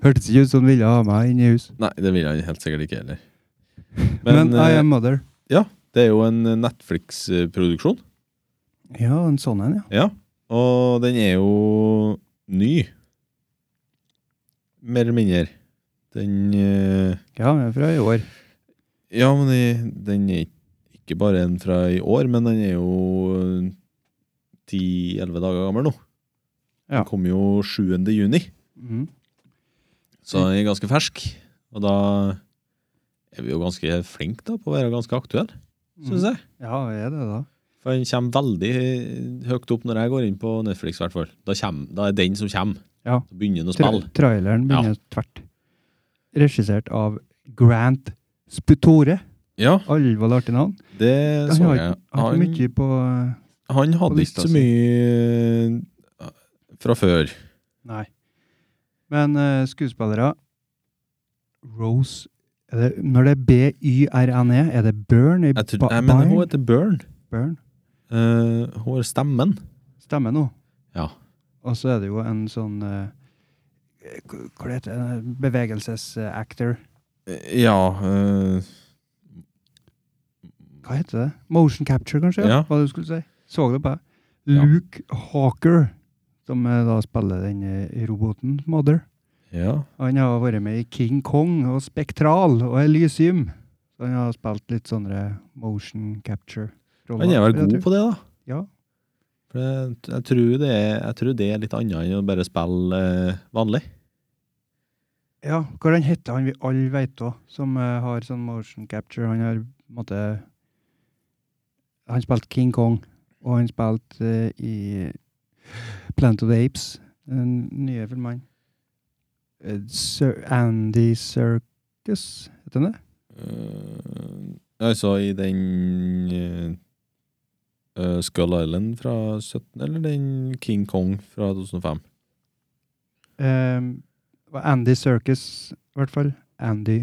[SPEAKER 1] Hørtes ikke ut som han ville ha meg inn i hus.
[SPEAKER 3] Nei, det vil han helt sikkert ikke heller. Men,
[SPEAKER 1] Men, I
[SPEAKER 3] eh,
[SPEAKER 1] Am Mother.
[SPEAKER 3] det er jo en Netflix-produksjon.
[SPEAKER 1] Ja, en sånn en, ja.
[SPEAKER 3] Ja, og den er jo ny. Mer eller mindre. Den eh,
[SPEAKER 1] Ja, den er fra i år.
[SPEAKER 3] Ja, men i- den er ik- ikke bare en fra i år, men den er jo ti-elleve dager gammel nå.
[SPEAKER 1] Ja.
[SPEAKER 3] Den kom jo 7. juni,
[SPEAKER 1] Mhm.
[SPEAKER 3] så den er ganske fersk. Og da er vi jo ganske flinke da, på å være ganske aktuelle, syns jeg.
[SPEAKER 1] Mm. Ja, er det da?
[SPEAKER 3] For den kommer veldig høyt opp når jeg går inn på Netflix, i hvert fall. Da, kjem- da er den som kommer.
[SPEAKER 1] Ja.
[SPEAKER 3] Så begynner den å
[SPEAKER 1] Tra
[SPEAKER 3] spille.
[SPEAKER 1] traileren begynner tvert. Regissert av Grant Sputore.
[SPEAKER 3] Ja,
[SPEAKER 1] Alvorlig artig navn.
[SPEAKER 3] det
[SPEAKER 1] Han
[SPEAKER 3] så
[SPEAKER 1] har
[SPEAKER 3] jeg.
[SPEAKER 1] ikke- har ikke
[SPEAKER 3] Han,
[SPEAKER 1] mye på eh,
[SPEAKER 3] han hadde
[SPEAKER 1] lista
[SPEAKER 3] ikke så
[SPEAKER 1] si.
[SPEAKER 3] mye eh, fra før.
[SPEAKER 1] Nei. Men eh, skuespillere Rose er det, Når det er B-Y-R-N-E, E, er det Burn? I
[SPEAKER 3] Jeg, tror-
[SPEAKER 1] ba-
[SPEAKER 3] jeg mener hun
[SPEAKER 1] Barn?
[SPEAKER 3] heter Burn.
[SPEAKER 1] Burn?
[SPEAKER 3] Eh, hun har stemmen.
[SPEAKER 1] Stemmer nå.
[SPEAKER 3] Ja.
[SPEAKER 1] Og så er det jo en sånn eh, k- Hva det heter det? Bevegelsesactor.
[SPEAKER 3] Eh, Ja eh,
[SPEAKER 1] Hva heter det? Motion capture, kanskje?
[SPEAKER 3] Ja.
[SPEAKER 1] Hva du skulle si. Så det på deg.
[SPEAKER 3] Ja.
[SPEAKER 1] Luke Hawker, som eh, da spiller den eh, roboten Mother.
[SPEAKER 3] Ja.
[SPEAKER 1] Han har vært med i King Kong og Spektral og Elysium. Så han har spilt litt sånne motion capture.
[SPEAKER 3] Han er vel god på det, da.
[SPEAKER 1] Ja.
[SPEAKER 3] For jeg, jeg, tror det er, jeg tror det er litt annet enn å bare spille eh, vanlig.
[SPEAKER 1] Ja, hva er han heter han vi alle vet òg, som eh, har sånn motion capture? Han har på en måte Han spilte King Kong, og han spilte eh, i Planet of the Apes, den nye filmen. Eh, Sir Andy Circus, heter han det?
[SPEAKER 3] Eh, altså i den eh, eh, Skull Island fra 17, eller den King Kong fra 2005?
[SPEAKER 1] Um, Andy Circus, i hvert fall. Andy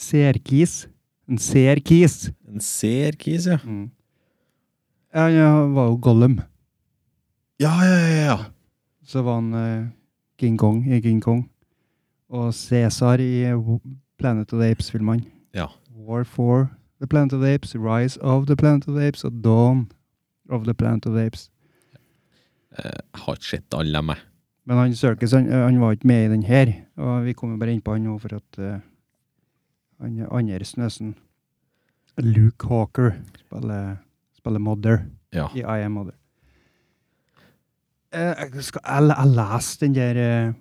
[SPEAKER 1] Serkis. En Serkis.
[SPEAKER 3] En serkis, ja.
[SPEAKER 1] Mm. Ja, han var jo Gollum.
[SPEAKER 3] Ja, ja, ja, ja.
[SPEAKER 1] Så var han eh, King Kong i King Kong. Og Cæsar i eh, Wo- Planet of the Apes-filmene.
[SPEAKER 3] Ja.
[SPEAKER 1] War for The Planet of the Apes, Rise of the Planet of the Apes og Dawn of the Planet of the Apes.
[SPEAKER 3] Eh, Jeg har ikke sett alle dem, jeg.
[SPEAKER 1] Men han Circus han, eh, han var ikke med i den her. Og vi kommer bare inn på han nå for at eh, han andre Snøsen Luke Hawker spiller, spiller Mother
[SPEAKER 3] Ja.
[SPEAKER 1] i I Am Mother. Eh, jeg skal jeg, le- jeg lese den der eh,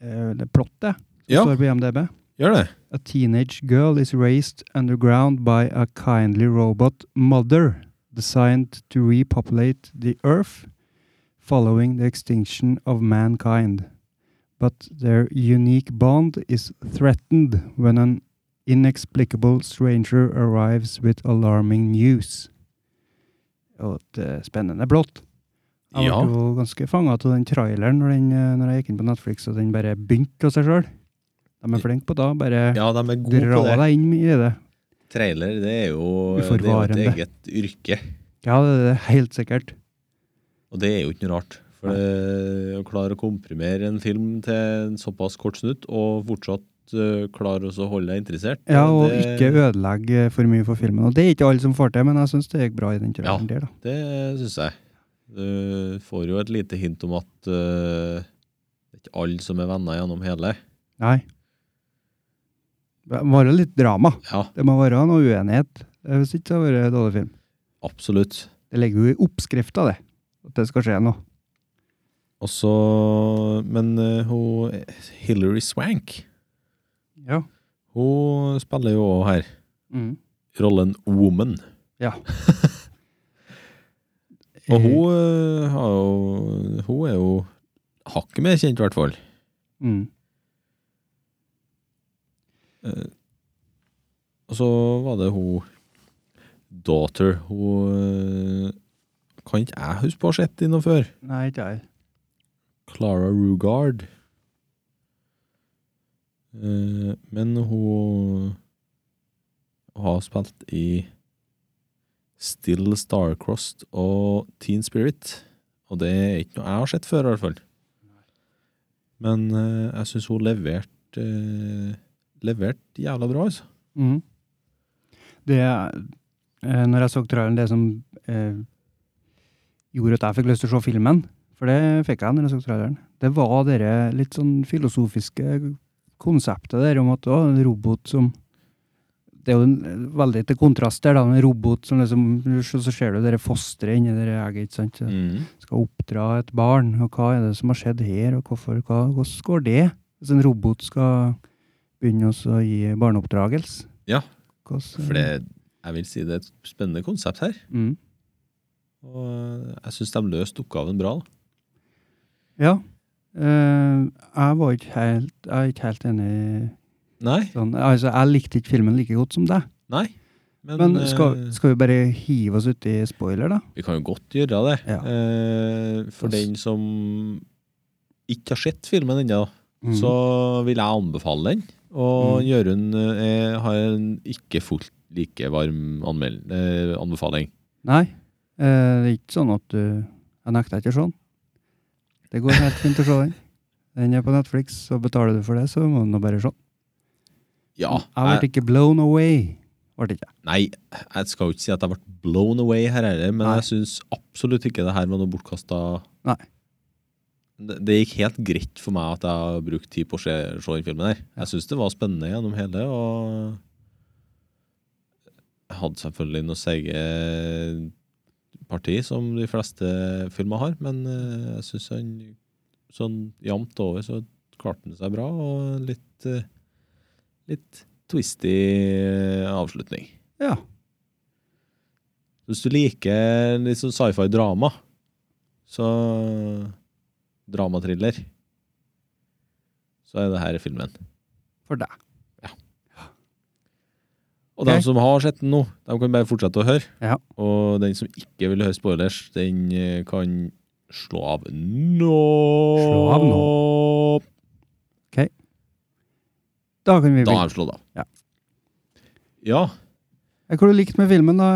[SPEAKER 1] eh, det plottet som
[SPEAKER 3] Ja.
[SPEAKER 1] står på IMDb?
[SPEAKER 3] Gjør det.
[SPEAKER 1] A teenage girl is raised underground by a kindly robot mother designed to repopulate the earth following the extinction of mankind. But their unique bond is threatened when an inexplicable stranger arrives with alarming news. og et eh, spennende blått. Jeg
[SPEAKER 3] Ja.
[SPEAKER 1] ble jo ganske fanga av den traileren når, den, eh, når jeg gikk inn på Netflix og den bare begynte av seg sjøl. De er flinke på da, bare
[SPEAKER 3] Ja, de er gode
[SPEAKER 1] dra
[SPEAKER 3] på det.
[SPEAKER 1] deg inn i det.
[SPEAKER 3] Trailer, det er jo det er jo et
[SPEAKER 1] Uforvarende.
[SPEAKER 3] eget yrke.
[SPEAKER 1] Ja, det er helt sikkert.
[SPEAKER 3] Og det er jo ikke noe rart. For det, å klare å komprimere en film til en såpass kort snutt, og fortsatt eh, klare å så holde deg interessert
[SPEAKER 1] Ja, og
[SPEAKER 3] det,
[SPEAKER 1] ikke ødelegge for mye for filmen. Og det er ikke alle som får til, men jeg syns det gikk bra i den traileren der, da.
[SPEAKER 3] Det syns jeg. Du får jo et lite hint om at eh, det er ikke alle som er venner gjennom hele.
[SPEAKER 1] Nei. Det må være litt drama.
[SPEAKER 3] Ja,
[SPEAKER 1] Det må være noe uenighet. Eh, Hvis ikke så har det vært en dårlig film.
[SPEAKER 3] absolutt.
[SPEAKER 1] Det ligger jo i oppskrifta, det. At det skal skje noe.
[SPEAKER 3] Og så Men eh, hun Hilary Swank,
[SPEAKER 1] Ja.
[SPEAKER 3] hun spiller jo også her
[SPEAKER 1] Mm.
[SPEAKER 3] rollen Woman.
[SPEAKER 1] Ja.
[SPEAKER 3] Og hun, eh, har jo, hun er jo hakket mer kjent, i hvert fall.
[SPEAKER 1] mm.
[SPEAKER 3] Eh, Og så var det hun Daughter. Hun eh, kan ikke jeg huske på å ha sett innom før.
[SPEAKER 1] Nei, ikke jeg.
[SPEAKER 3] Clara Rugard. Eh, Men hun har spilt i Still Starcrossed og Teen Spirit. Og det er ikke noe jeg har sett før, i hvert fall. Men eh, jeg syns hun leverte eh, Leverte jævla bra, altså.
[SPEAKER 1] Mm. Det eh, Når jeg så traileren, det som eh, gjorde at jeg fikk lyst til å se filmen, for det fikk jeg når jeg så traileren, det var det litt sånn filosofiske konseptet der om at å, en robot som Det er jo en, eh, veldig til kontrast der, da. En robot som liksom Så, så ser du det fosteret inni det egget, ikke sant. Skal oppdra et barn, og hva er det som har skjedd her, og hvorfor, hva, hvordan går det? Hvis en robot skal begynne også å gi barneoppdragelse.
[SPEAKER 3] Ja,
[SPEAKER 1] Hvordan-
[SPEAKER 3] For det, jeg vil si det er et spennende konsept her.
[SPEAKER 1] Mm.
[SPEAKER 3] Og eh, jeg syns de løste oppgaven bra. da.
[SPEAKER 1] Ja. Eh, jeg var ikke helt, jeg er ikke helt enig i
[SPEAKER 3] Nei,
[SPEAKER 1] sånn. Altså, jeg likte ikke filmen like godt som deg.
[SPEAKER 3] nei. Men,
[SPEAKER 1] Men skal,
[SPEAKER 3] eh,
[SPEAKER 1] skal vi bare hive oss uti spoiler, da?
[SPEAKER 3] vi kan jo godt gjøre det.
[SPEAKER 1] Ja.
[SPEAKER 3] Eh, for
[SPEAKER 1] Yes.
[SPEAKER 3] den som ikke har sett filmen ennå, Mm. så vil jeg anbefale den. Og
[SPEAKER 1] Mm.
[SPEAKER 3] Jørund eh, har en ikke fullt like varm anmel eh, anbefaling.
[SPEAKER 1] Nei. eh, det er ikke sånn at du Jeg nekter ikke å se den. Det går helt fint å se den. Den er på Netflix, og betaler du for det, så må du nå bare se den.
[SPEAKER 3] Ja,
[SPEAKER 1] Jeg ble
[SPEAKER 3] jeg,
[SPEAKER 1] ikke blown away. Ble ikke. jeg.
[SPEAKER 3] nei, jeg skal jo ikke si at jeg ble blown away her heller, men
[SPEAKER 1] Nei.
[SPEAKER 3] jeg syns absolutt ikke det her var noe bortkasta
[SPEAKER 1] Nei.
[SPEAKER 3] det, det gikk helt greit for meg at jeg har brukt tid på å se, se den filmen her. Jeg syns det var spennende gjennom hele, og jeg hadde selvfølgelig noen seige parti, som de fleste filmer har, men eh, jeg syns han sånn jevnt over så klarte han seg bra, og en litt, eh, litt twisty avslutning.
[SPEAKER 1] Ja.
[SPEAKER 3] Hvis du liker litt sånn sci-fi-drama, så Dramatriller, så er det her filmen.
[SPEAKER 1] For deg.
[SPEAKER 3] Og
[SPEAKER 1] Ok.
[SPEAKER 3] de som har sett den nå, de kan bare fortsette å høre.
[SPEAKER 1] Ja.
[SPEAKER 3] Og den som ikke vil høre spoilers, den eh, kan slå av nå.
[SPEAKER 1] Slå av Da kan vi
[SPEAKER 3] Da
[SPEAKER 1] begynne.
[SPEAKER 3] er den slått av.
[SPEAKER 1] Ja.
[SPEAKER 3] Ja,
[SPEAKER 1] Hva har du likt med filmen, da,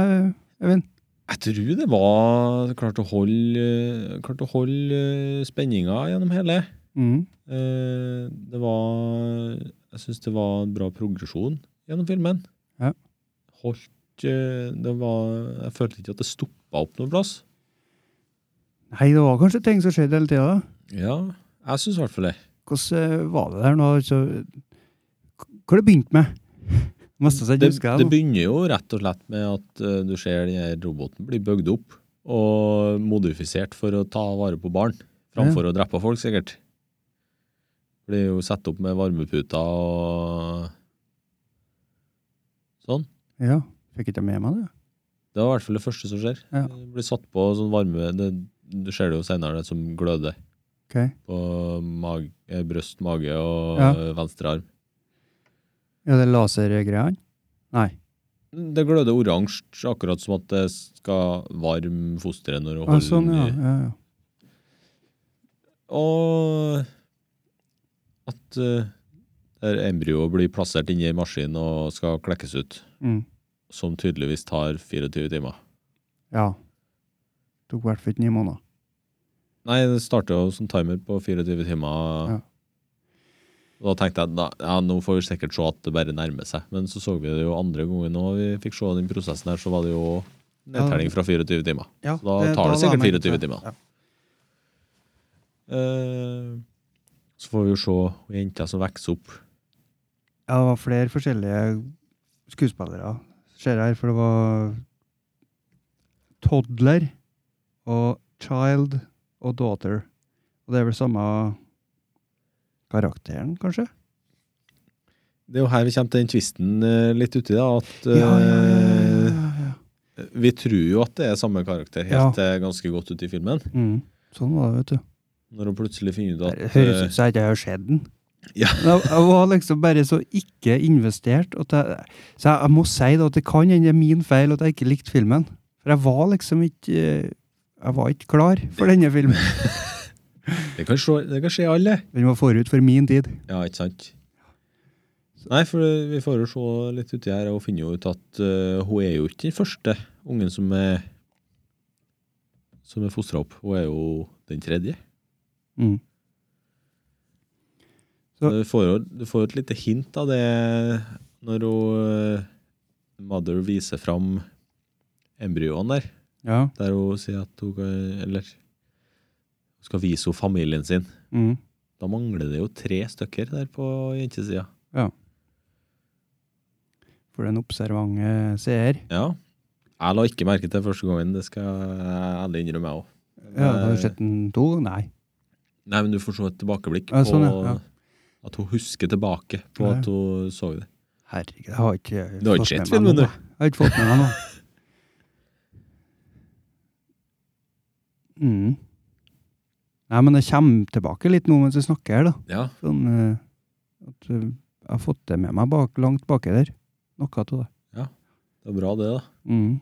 [SPEAKER 1] Øyvind?
[SPEAKER 3] Jeg tror det var klart å holde, eh, klart å holde eh, spenninga gjennom hele.
[SPEAKER 1] Mm.
[SPEAKER 3] Eh, Det var Jeg syns det var en bra progresjon gjennom filmen.
[SPEAKER 1] Ja.
[SPEAKER 3] Holdt eh, Det var Jeg følte ikke at det stoppa opp noen plass.
[SPEAKER 1] Nei, det var kanskje ting som skjedde hele tida.
[SPEAKER 3] Ja, jeg syns i hvert fall det.
[SPEAKER 1] Hvordan eh, var det der nå? Altså, hva har det begynt med? Mest av seg
[SPEAKER 3] Det,
[SPEAKER 1] husker
[SPEAKER 3] det
[SPEAKER 1] jeg. nå.
[SPEAKER 3] begynner jo rett og slett med at eh, du ser den her roboten bli bygd opp og modifisert for å ta vare på barn, framfor å drepe folk, sikkert. Blir jo satt opp med varmeputer og sånn.
[SPEAKER 1] Ja, Fikk ikke jeg med meg det?
[SPEAKER 3] Det var i hvert fall det første som skjer.
[SPEAKER 1] Ja.
[SPEAKER 3] Det blir satt på sånn varme det, Du ser det jo senere, det som gløder
[SPEAKER 1] Ok.
[SPEAKER 3] på mag, eh, brøst, mage og
[SPEAKER 1] Ja.
[SPEAKER 3] eh, venstre arm.
[SPEAKER 1] Ja, det lasergreiene? Nei.
[SPEAKER 3] Det gløder oransje, akkurat som at det skal varme fosteret når du
[SPEAKER 1] Ah,
[SPEAKER 3] holder
[SPEAKER 1] sånn, ja.
[SPEAKER 3] den i-
[SPEAKER 1] ja, ja.
[SPEAKER 3] Og at eh, der embryoet blir plassert inni en maskin og skal klekkes ut,
[SPEAKER 1] Mm.
[SPEAKER 3] som tydeligvis tar 24 timer.
[SPEAKER 1] ja. Tok i hvert fall ikke ni måneder.
[SPEAKER 3] Nei, det starter jo som timer på 24 timer.
[SPEAKER 1] Ja.
[SPEAKER 3] Og Da tenkte jeg da, ja, nå får vi sikkert se at det bare nærmer seg. Men så så vi det jo andre gangen nå vi fikk se den prosessen her, så var det jo nedtelling fra 24 timer.
[SPEAKER 1] Ja,
[SPEAKER 3] Så da tar det
[SPEAKER 1] var
[SPEAKER 3] sikkert
[SPEAKER 1] man-
[SPEAKER 3] 24 timer.
[SPEAKER 1] Ja.
[SPEAKER 3] Eh, så får vi jo se hun jenta som vokser opp.
[SPEAKER 1] Ja, det var flere forskjellige skuespillere. Ser jeg her, for det var Toddler og Child og Daughter. Og det er vel samme karakteren, kanskje?
[SPEAKER 3] Det er jo her vi kommer til den tvisten eh, litt uti, da. At eh,
[SPEAKER 1] Ja, ja, ja, ja, ja.
[SPEAKER 3] vi tror jo at det er samme karakter helt til ganske godt ut i filmen.
[SPEAKER 1] Mm. Sånn var det, vet du.
[SPEAKER 3] Når hun plutselig finner ut at
[SPEAKER 1] Det høres
[SPEAKER 3] eh,
[SPEAKER 1] ut som jeg ikke har sett den.
[SPEAKER 3] Ja.
[SPEAKER 1] Men jeg, jeg var liksom bare så ikke investert. At jeg, så jeg, jeg må si da at det kan hende det er min feil at jeg ikke likte filmen. For jeg var liksom ikke eh, Jeg var ikke klar for denne filmen.
[SPEAKER 3] eh, det, kan se, det kan skje alle.
[SPEAKER 1] Den var forut for min tid.
[SPEAKER 3] Ja, ikke sant? Nei, for vi får jo se litt uti her og finne jo ut at eh, hun er jo ikke den første ungen som er som er fostra opp. Hun er jo den tredje.
[SPEAKER 1] Mm. Ja.
[SPEAKER 3] Du får jo du får jo et lite hint av det når hun eh, Mother viser fram embryoene der,
[SPEAKER 1] Ja.
[SPEAKER 3] der hun sier at hun kan- eller hun skal vise henne familien sin.
[SPEAKER 1] Mm.
[SPEAKER 3] Da mangler det jo tre stykker der på jentesida.
[SPEAKER 1] For den observante seer.
[SPEAKER 3] Ja. Jeg la ikke merke til første gangen, det skal jeg ærlig innrømme, jeg òg.
[SPEAKER 1] Ja, har du sett den to? Nei.
[SPEAKER 3] Nei, men du får se et tilbakeblikk
[SPEAKER 1] Ja, sånn,
[SPEAKER 3] på
[SPEAKER 1] ja, ja.
[SPEAKER 3] At hun husker tilbake på
[SPEAKER 1] Ja, ja.
[SPEAKER 3] at hun så det.
[SPEAKER 1] Herregud, jeg har ikke eh,
[SPEAKER 3] Du har ikke
[SPEAKER 1] fått med
[SPEAKER 3] sett filmen,
[SPEAKER 1] meg
[SPEAKER 3] du?
[SPEAKER 1] noe. Jeg har ikke fått med meg noe. Mm. Nei, men det kommer tilbake litt nå mens jeg snakker her, da.
[SPEAKER 3] Ja.
[SPEAKER 1] Sånn, eh, at eh, jeg har fått det med meg bak, langt baki der. Noe av det.
[SPEAKER 3] Det er bra, det, da.
[SPEAKER 1] Mm.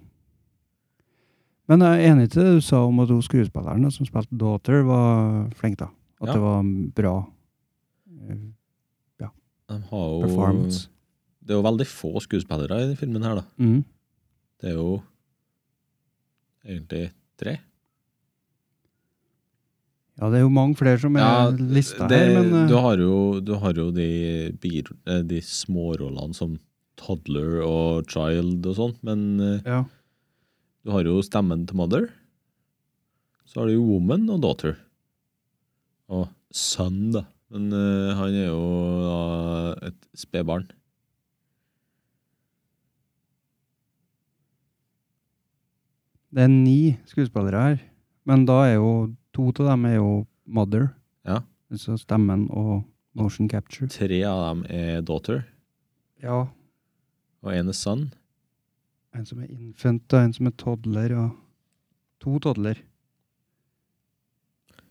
[SPEAKER 1] Men jeg er enig til det du sa om at hun skuespilleren da, som spilte Daughter, var flink, da. At
[SPEAKER 3] Ja.
[SPEAKER 1] det var en bra eh,
[SPEAKER 3] De har jo
[SPEAKER 1] performance.
[SPEAKER 3] Det er jo veldig få skuespillere i denne filmen her, da.
[SPEAKER 1] Mm.
[SPEAKER 3] Det er jo egentlig tre.
[SPEAKER 1] Ja, det er jo mange flere som er lista
[SPEAKER 3] det-
[SPEAKER 1] her, men eh,
[SPEAKER 3] du, har jo, du har jo de, bir- eh, de smårollene som toddler og child og sånn, men eh,
[SPEAKER 1] ja.
[SPEAKER 3] du har jo stemmen til mother. Så har du jo woman og daughter. Og son, da. Men eh, han er jo da et spedbarn.
[SPEAKER 1] Det er ni skuespillere her, men da er jo to av dem er jo Mother.
[SPEAKER 3] Ja.
[SPEAKER 1] Altså stemmen og motion capture.
[SPEAKER 3] Tre av dem er daughter,
[SPEAKER 1] Ja.
[SPEAKER 3] og én er son.
[SPEAKER 1] En som er infant, og en som er toddler, og to toddler.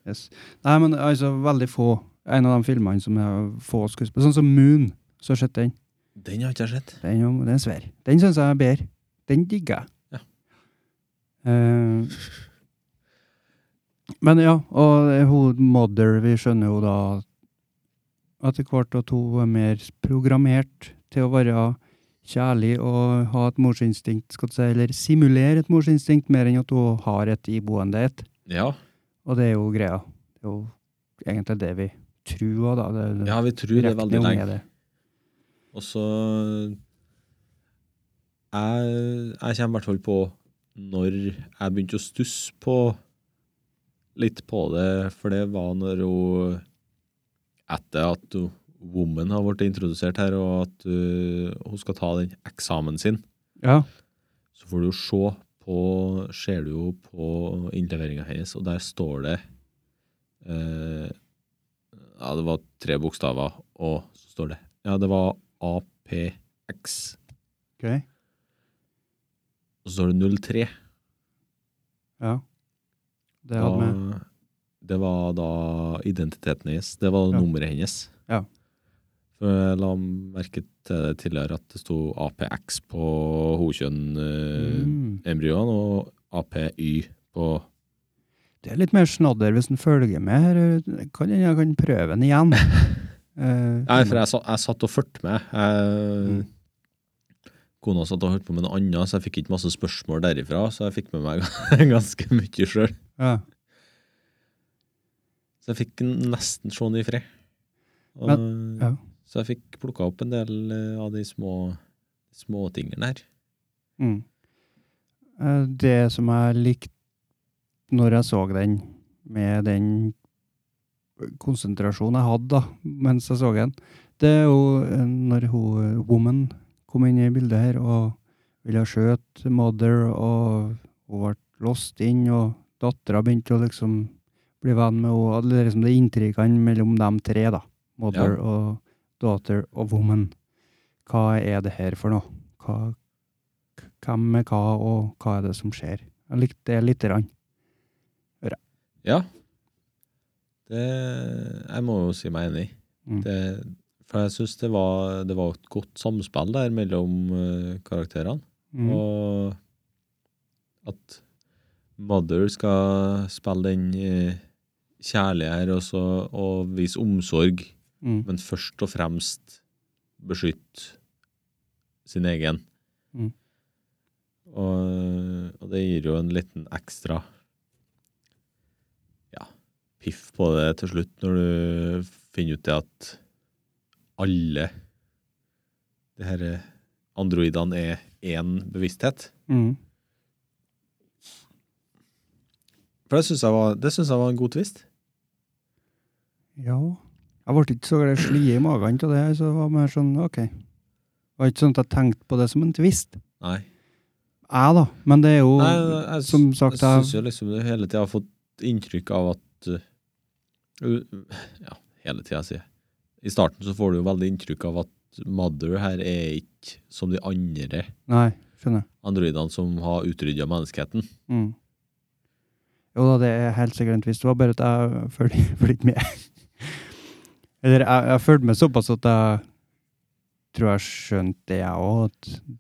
[SPEAKER 1] Yes. Nei, men altså, veldig få. En av de filmene som er få skuespillere. Sånn som Moon, så har jeg sett den.
[SPEAKER 3] Den har ikke jeg sett.
[SPEAKER 1] Den, jo- den er svær. Den syns jeg er bedre. Den digger jeg.
[SPEAKER 3] Ja.
[SPEAKER 1] Eh, men ja, og hun Mother, vi skjønner jo da etter hvert at hun er mer programmert til å være kjærlig og ha et morsinstinkt, skal du si, eller simulere et morsinstinkt, mer enn at hun har et iboende et.
[SPEAKER 3] Ja.
[SPEAKER 1] Og det er jo greia. Det er jo egentlig det vi tror, da. Det,
[SPEAKER 3] ja, vi tror det er
[SPEAKER 1] regner
[SPEAKER 3] veldig
[SPEAKER 1] jo
[SPEAKER 3] lenge.
[SPEAKER 1] med det.
[SPEAKER 3] Og så jeg, jeg kommer i hvert fall på når jeg begynte å stusse på litt på det, for det var når hun Etter at hun, Woman har blitt introdusert her, og at uh, hun skal ta den eksamen sin,
[SPEAKER 1] Ja.
[SPEAKER 3] så får du jo se på Ser du jo på innleveringa hennes, og der står det eh, Ja, det var tre bokstaver, og så står det Ja, det var APX.
[SPEAKER 1] ok.
[SPEAKER 3] Og så står det 03.
[SPEAKER 1] Ja. Det hadde vi.
[SPEAKER 3] Da- det var da identiteten hennes. Det var
[SPEAKER 1] Ja.
[SPEAKER 3] nummeret hennes.
[SPEAKER 1] Ja.
[SPEAKER 3] For jeg la merke til det tidligere at det sto APX på hokjønnembryoene
[SPEAKER 1] Mm.
[SPEAKER 3] og APY på
[SPEAKER 1] Det er litt mer snadder hvis en følger med her. Jeg Kan hende jeg kan prøve den igjen. Eh,
[SPEAKER 3] Nei, for jeg, sa- jeg satt og fulgte med. Jeg, Kona satt og hørte på med noe annet, så jeg fikk ikke masse spørsmål derifra. Så jeg fikk med meg ganske mye sjøl.
[SPEAKER 1] ja.
[SPEAKER 3] Så jeg fikk nesten se den i fred. Og,
[SPEAKER 1] ja.
[SPEAKER 3] Så jeg fikk plukka opp en del eh, av de små småtingene her.
[SPEAKER 1] Mm. Eh, Det som jeg likte når jeg så den, med den konsentrasjonen jeg hadde da, mens jeg så den, det er jo eh, når hun, eh, woman kom inn i bildet her og ville skjøte mother, og hun ble låst inn, og dattera begynte å liksom bli venn med henne. og Det er liksom det inntrykkene mellom de tre, da. Mother og daughter og woman. Hva er det her for noe? Hva, k- hvem er hva, og hva er det som skjer? Jeg likte det lite grann.
[SPEAKER 3] Ja. Det Jeg må jo si meg enig i.
[SPEAKER 1] Mm.
[SPEAKER 3] Det, for jeg syns det, var- det var et godt samspill der mellom eh, karakterene.
[SPEAKER 1] Mm.
[SPEAKER 3] Og at Mother skal spille den eh, kjærlige her og så- og vise omsorg,
[SPEAKER 1] Mm.
[SPEAKER 3] men først og fremst beskytte sin egen.
[SPEAKER 1] Mm.
[SPEAKER 3] Og, og det gir jo en liten ekstra ja, piff på det til slutt, når du finner ut det at alle de her androidene er én bevissthet.
[SPEAKER 1] Mm.
[SPEAKER 3] For det syns jeg, var- det synes jeg var en god twist.
[SPEAKER 1] Ja. Jeg ble ikke så glad i slie i magen av det, så det var mer sånn OK. Det var ikke sånn at jeg tenkte på det som en tvist.
[SPEAKER 3] Nei.
[SPEAKER 1] Jeg, da. Men det er jo
[SPEAKER 3] Nei, jeg,
[SPEAKER 1] som sagt,
[SPEAKER 3] jeg
[SPEAKER 1] jeg-
[SPEAKER 3] syns jo liksom du hele tida har fått inntrykk av at uh, uh, Ja, hele tida, sier jeg. I starten så får du jo veldig inntrykk av at Mother her er ikke som de andre
[SPEAKER 1] Nei, skjønner.
[SPEAKER 3] androidene som har utrydda menneskeheten.
[SPEAKER 1] Mm. Jo da, det er helt sikkert en tvist. Det var bare at jeg føl- fulgte ikke med. Eller jeg, jeg fulgte med såpass at jeg tror jeg skjønte det, jeg òg, at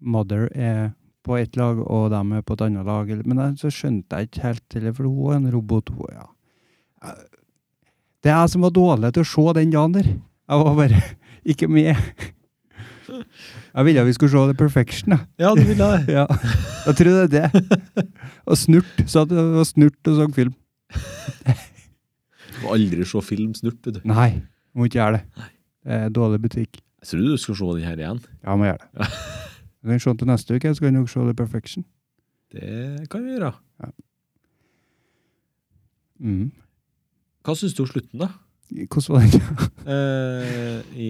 [SPEAKER 1] Mother er på ett lag, og dem er på et annet lag. eller- Men jeg, så skjønte jeg ikke helt heller, for hun er en robot. Hun, ja. Jeg- Det er jeg som var dårlig til å se den dagen der. Jeg var bare ikke med. Jeg ville vi skulle se The Perfection, jeg.
[SPEAKER 3] Ja, du ville det.
[SPEAKER 1] Ja, jeg tror det er det. Og snurt. Så at det var snurt og så film.
[SPEAKER 3] Du må aldri se film snurt, vet du.
[SPEAKER 1] Nei, du må ikke gjøre det. Det er dårlig butikk.
[SPEAKER 3] Jeg tror du skal se den her igjen.
[SPEAKER 1] Ja, må gjøre det. Du kan se den til neste uke, så kan dere se The Perfection.
[SPEAKER 3] Det kan vi gjøre.
[SPEAKER 1] Mm.
[SPEAKER 3] Hva syns du om slutten, da?
[SPEAKER 1] Hvordan var det?
[SPEAKER 3] Eh, I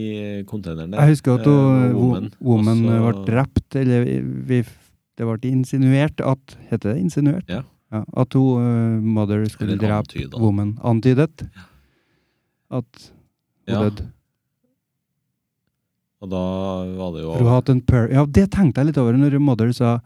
[SPEAKER 3] containeren der?
[SPEAKER 1] Jeg husker at hun,
[SPEAKER 3] Eh,
[SPEAKER 1] woman,
[SPEAKER 3] Woman.
[SPEAKER 1] woman
[SPEAKER 3] Og så-
[SPEAKER 1] ble drept, eller vi, det ble insinuert at Heter det insinuert?
[SPEAKER 3] Ja.
[SPEAKER 1] at hun, eh, mother, skulle
[SPEAKER 3] Eller
[SPEAKER 1] drepe
[SPEAKER 3] antyda.
[SPEAKER 1] woman. Antydet at hun
[SPEAKER 3] Ja,
[SPEAKER 1] døde.
[SPEAKER 3] og da var det jo
[SPEAKER 1] For hun hadde en per... Ja, det tenkte jeg litt over når mother sa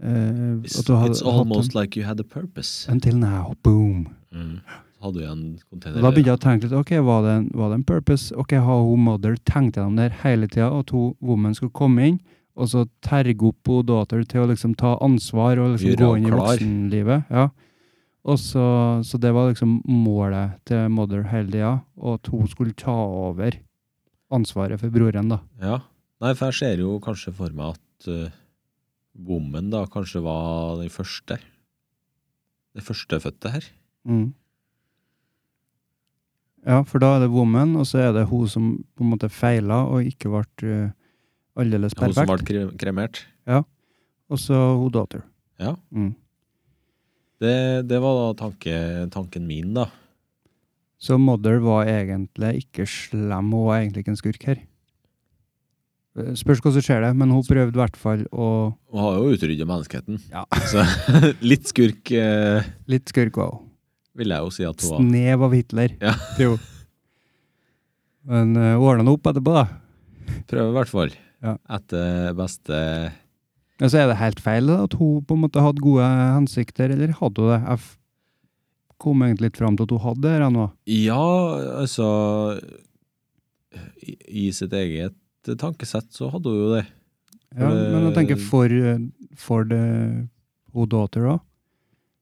[SPEAKER 1] eh,
[SPEAKER 3] It's,
[SPEAKER 1] at hun hadde
[SPEAKER 3] it's
[SPEAKER 1] hatt en
[SPEAKER 3] almost like you had a purpose.
[SPEAKER 1] Until now, boom.
[SPEAKER 3] Mm. Så hadde vi en
[SPEAKER 1] Og
[SPEAKER 3] container
[SPEAKER 1] da begynte jeg å tenke litt, ok, var det en, var det en purpose? Ok, har hun mother tenkt gjennom det her hele tida, at hun woman skulle komme inn, og så terge opp hun daughter til å liksom ta ansvar og liksom
[SPEAKER 3] Gjøre
[SPEAKER 1] gå
[SPEAKER 3] henne
[SPEAKER 1] inn i
[SPEAKER 3] klar.
[SPEAKER 1] voksenlivet? Ja. Og så, så det var liksom målet til mother hele tida, og at hun skulle ta over ansvaret for broren, da.
[SPEAKER 3] Ja. Nei, for jeg ser jo kanskje for meg at eh, Woman da kanskje var den første. Det førstefødte her.
[SPEAKER 1] Mm. Ja, for da er det woman, og så er det hun som på en måte feila og ikke ble eh, aldeles
[SPEAKER 3] Hun som ble
[SPEAKER 1] perfekt.
[SPEAKER 3] kre- kremert.
[SPEAKER 1] Og så hun daughter.
[SPEAKER 3] Ja.
[SPEAKER 1] Mm.
[SPEAKER 3] Det, det var da tanke, tanken min, da.
[SPEAKER 1] Så Mother var egentlig ikke slem, hun var egentlig ikke en skurk her. Eh, Spørs hva som skjer det, men hun prøvde i hvert fall å
[SPEAKER 3] Hun har jo utrydda menneskeheten.
[SPEAKER 1] Ja.
[SPEAKER 3] Så litt skurk eh,
[SPEAKER 1] Litt skurk var hun.
[SPEAKER 3] vil jeg jo si at hun var.
[SPEAKER 1] Snev av Hitler.
[SPEAKER 3] Ja.
[SPEAKER 1] Det er hun. Men eh, hun ordna det opp etterpå, da.
[SPEAKER 3] Prøver i hvert fall.
[SPEAKER 1] Ja.
[SPEAKER 3] Etter beste
[SPEAKER 1] Men så er det helt feil da, at hun på en måte hadde gode hensikter, eller hadde hun det? Jeg f- kom egentlig litt fram til at hun hadde det her nå.
[SPEAKER 3] Ja, altså i, i sitt eget tankesett så hadde hun jo det.
[SPEAKER 1] Ja, men jeg tenker for, eh, for the, hun daughter òg.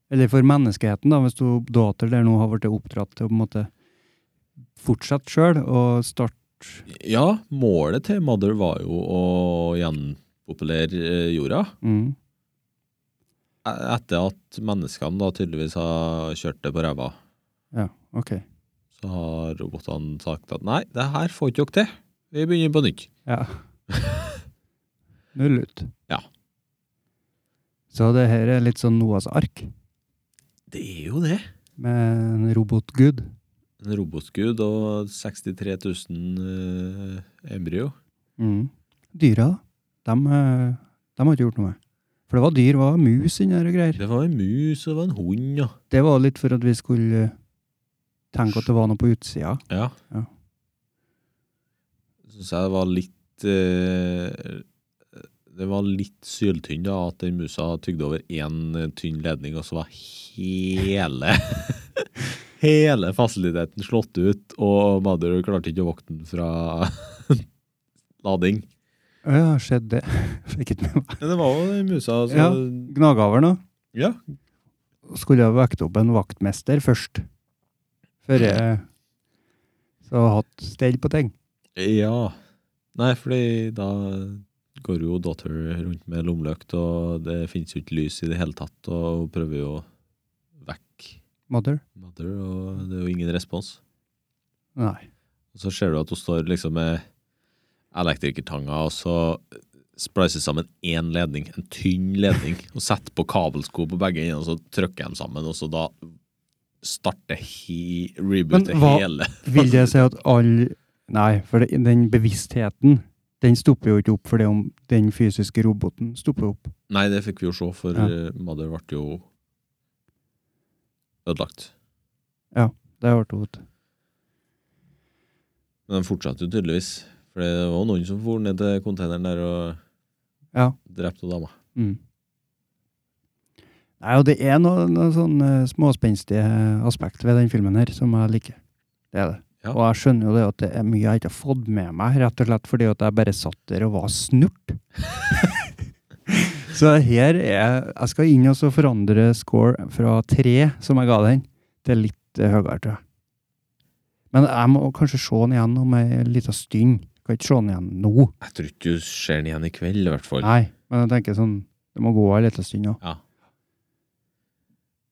[SPEAKER 1] Eller for menneskeheten, da, hvis hun daughter der nå har blitt oppdratt til å på en måte fortsette sjøl og starte
[SPEAKER 3] Ja, målet til Mother var jo å gjenpopulere eh, jorda.
[SPEAKER 1] mm.
[SPEAKER 3] E- Etter at menneskene da tydeligvis har kjørt det på ræva,
[SPEAKER 1] Ja, OK.
[SPEAKER 3] så har robotene sagt at nei, det her får ikke dere til. Vi begynner på nytt.
[SPEAKER 1] Ja. Null ut.
[SPEAKER 3] Ja.
[SPEAKER 1] Så det her er litt sånn Noas ark,
[SPEAKER 3] Det er jo det.
[SPEAKER 1] med en robotgud.
[SPEAKER 3] En robotgud og 63 000 eh, embryo.
[SPEAKER 1] Mm. Dyra, da. De, eh, de har ikke gjort noe med. For det var dyr, det var mus inni der og greier.
[SPEAKER 3] Det var en mus og det var en hund, ja.
[SPEAKER 1] Det var litt for at vi skulle eh, tenke at det var noe på utsida.
[SPEAKER 3] Ja.
[SPEAKER 1] Ja.
[SPEAKER 3] Syns jeg det var litt eh, Det var litt syltynn da, at den musa tygde over én eh, tynn ledning, og så var hele Hele fasiliteten slått ut, og Mother klarte ikke å vokte den fra lading.
[SPEAKER 1] Å Ja, skjedde det. Fikk ikke med meg.
[SPEAKER 3] Men det var jo den musa, så
[SPEAKER 1] Ja. Gnagaveren òg.
[SPEAKER 3] Ja.
[SPEAKER 1] Skulle ha vekt opp en vaktmester først. Før jeg eh, så har jeg hatt stell på ting.
[SPEAKER 3] Ja. Nei, fordi da går jo daughter rundt med lommelykt, og det finnes jo ikke lys i det hele tatt, og hun prøver jo å vekke
[SPEAKER 1] Mother?
[SPEAKER 3] mother, og det er jo ingen respons.
[SPEAKER 1] Nei.
[SPEAKER 3] Og så ser du at hun står liksom med elektrikertanga, og så splices sammen én ledning, en tynn ledning, og setter på kabelsko på begge ender, og så trykker de sammen, og så da starter he rebootet
[SPEAKER 1] hva-
[SPEAKER 3] hele.
[SPEAKER 1] Vil det si at all Nei, for det, den bevisstheten, den stopper jo ikke opp fordi om den fysiske roboten stopper opp.
[SPEAKER 3] Nei, det fikk vi jo se, for
[SPEAKER 1] Ja.
[SPEAKER 3] eh, Mother ble jo ødelagt.
[SPEAKER 1] Det har vært vondt.
[SPEAKER 3] Men den fortsatte jo tydeligvis. For det var noen som for ned til containeren der og
[SPEAKER 1] Ja.
[SPEAKER 3] drepte dama.
[SPEAKER 1] Mm. Nei, og det er noen noe sånn eh, småspenstige aspekt ved den filmen her som jeg liker. Det er det.
[SPEAKER 3] Ja.
[SPEAKER 1] Og jeg skjønner jo det at det er mye jeg ikke har fått med meg, rett og slett fordi at jeg bare satt der og var snurt. så her er Jeg skal inn og så forandre score fra tre, som jeg ga den, til litt eh, høyere, tror jeg. Men jeg må kanskje se den igjen om ei lita stund. Kan ikke se den igjen nå.
[SPEAKER 3] Jeg tror ikke du ser den igjen i kveld, i hvert fall.
[SPEAKER 1] Nei, men jeg tenker sånn Det må gå ei lita stund òg.
[SPEAKER 3] Ja.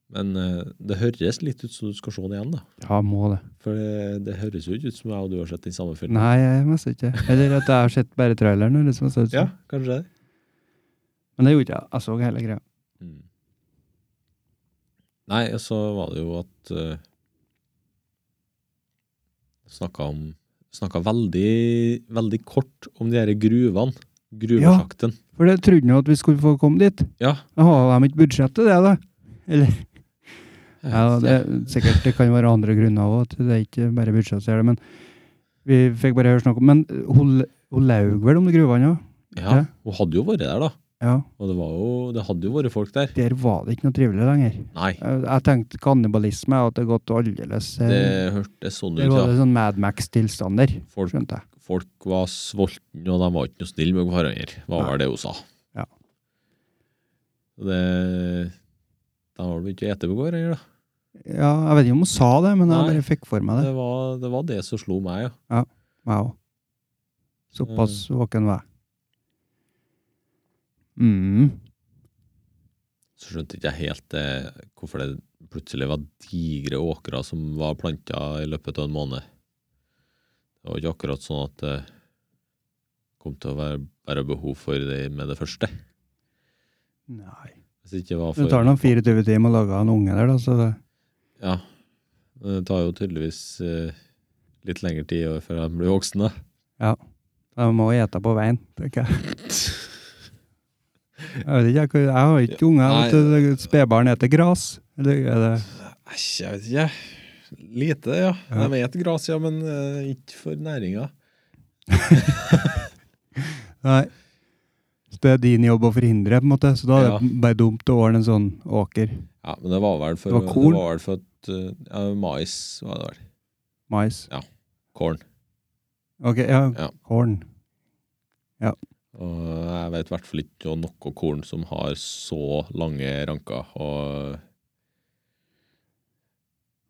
[SPEAKER 3] Men eh, det høres litt ut som du skal se den igjen, da.
[SPEAKER 1] Ja, må det.
[SPEAKER 3] For det, det høres jo ikke ut som jeg og du har sett den samme filmen.
[SPEAKER 1] Nei, jeg mest ikke. Eller at jeg har sett bare traileren. Eller som jeg sa.
[SPEAKER 3] Ja, kanskje det.
[SPEAKER 1] Men det gjorde jeg. Jeg så hele greia.
[SPEAKER 3] Mm. Nei, og så var det jo at uh, Snakka om Snakka veldig, veldig kort om de her gruvene. Gruvesjakten.
[SPEAKER 1] For jeg trodde nå at vi skulle få komme dit.
[SPEAKER 3] Ja.
[SPEAKER 1] Jeg har de ikke budsjett til det, da? Eller ja, det, Sikkert det kan være andre grunner òg, at det er ikke bare budsjett som gjør det. Men vi fikk bare høre snakk om Men hun, hun laug vel om de gruvene òg?
[SPEAKER 3] ja. Hun hadde jo vært der, da.
[SPEAKER 1] Ja.
[SPEAKER 3] Og det, var jo, det hadde jo vært folk der.
[SPEAKER 1] Der var det ikke noe trivelig lenger.
[SPEAKER 3] Nei,
[SPEAKER 1] Jeg, jeg tenkte kannibalisme, og at det har gått aldeles eh,
[SPEAKER 3] det hørtes sånn
[SPEAKER 1] Der
[SPEAKER 3] ut,
[SPEAKER 1] var
[SPEAKER 3] ja.
[SPEAKER 1] det sånn Mad Max-tilstander,
[SPEAKER 3] Folk,
[SPEAKER 1] skjønte jeg.
[SPEAKER 3] folk var sultne, og de var ikke noe snille med hverandre, var
[SPEAKER 1] Nei.
[SPEAKER 3] vel det hun sa.
[SPEAKER 1] Ja.
[SPEAKER 3] Det, de har vel ikke spist med hverandre, da.
[SPEAKER 1] Ja, jeg vet ikke om hun sa det, men jeg
[SPEAKER 3] Nei.
[SPEAKER 1] bare fikk for meg det.
[SPEAKER 3] Det var, det var det som slo meg, ja.
[SPEAKER 1] Meg òg. Såpass våken var jeg. Mm.
[SPEAKER 3] Så skjønte ikke jeg helt eh, hvorfor det plutselig var digre åkre som var planta i løpet av en måned. Det var ikke akkurat sånn at det kom til å være, være behov for det med det første.
[SPEAKER 1] Nei.
[SPEAKER 3] Hvis ikke det var
[SPEAKER 1] Det
[SPEAKER 3] for
[SPEAKER 1] tar nå 24 timer å lage en unge der, da, så det
[SPEAKER 3] Ja. Men det tar jo tydeligvis eh, litt lengre tid før de blir voksne.
[SPEAKER 1] de må ete på veien, tenker jeg. Jeg vet ikke, jeg, kan- jeg har ikke unger.
[SPEAKER 3] Nei.
[SPEAKER 1] vet du, det- Spedbarn spiser gras. Eller er det
[SPEAKER 3] Æsj, jeg vet ikke. Lite, ja.
[SPEAKER 1] Ja.
[SPEAKER 3] De spiser gress, ja, men eh, ikke for næringa.
[SPEAKER 1] Nei. Så det er din jobb å forhindre, på en måte. Så da er det
[SPEAKER 3] Ja.
[SPEAKER 1] bare dumt å ordne en sånn åker.
[SPEAKER 3] Ja, men det var vel for,
[SPEAKER 1] Det var korn.
[SPEAKER 3] Det var vel for at, eh, ja, mais var det vel.
[SPEAKER 1] Mais.
[SPEAKER 3] Korn.
[SPEAKER 1] Ok, ja.
[SPEAKER 3] Ja.
[SPEAKER 1] Horn.
[SPEAKER 3] Og jeg vet i hvert fall ikke om noe korn som har så lange ranker. Og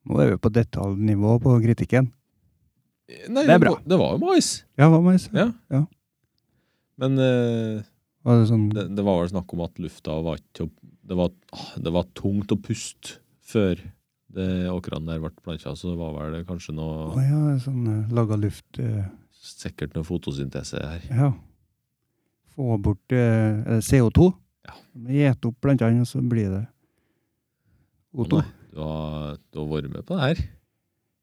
[SPEAKER 1] Nå er vi på detaljnivå på kritikken.
[SPEAKER 3] Nei,
[SPEAKER 1] Det er bra.
[SPEAKER 3] var- Det var jo mais.
[SPEAKER 1] Ja, hva må jeg si?
[SPEAKER 3] Ja.
[SPEAKER 1] Ja.
[SPEAKER 3] Men eh,
[SPEAKER 1] Var det sånn
[SPEAKER 3] det, det var vel snakk om at lufta var ikke å- Det var, ah, det var tungt å puste før det åkrene der ble planta, så det var vel kanskje
[SPEAKER 1] Å
[SPEAKER 3] noe
[SPEAKER 1] ja, sånn eh, laga luft eh,
[SPEAKER 3] Sikkert noe fotosyntese her.
[SPEAKER 1] Ja. Få bort eh, er det CO2.
[SPEAKER 3] Ja.
[SPEAKER 1] Gjete opp plantene, og så blir det
[SPEAKER 3] Å
[SPEAKER 1] O2.
[SPEAKER 3] nei, Du har, du har vært med på det her.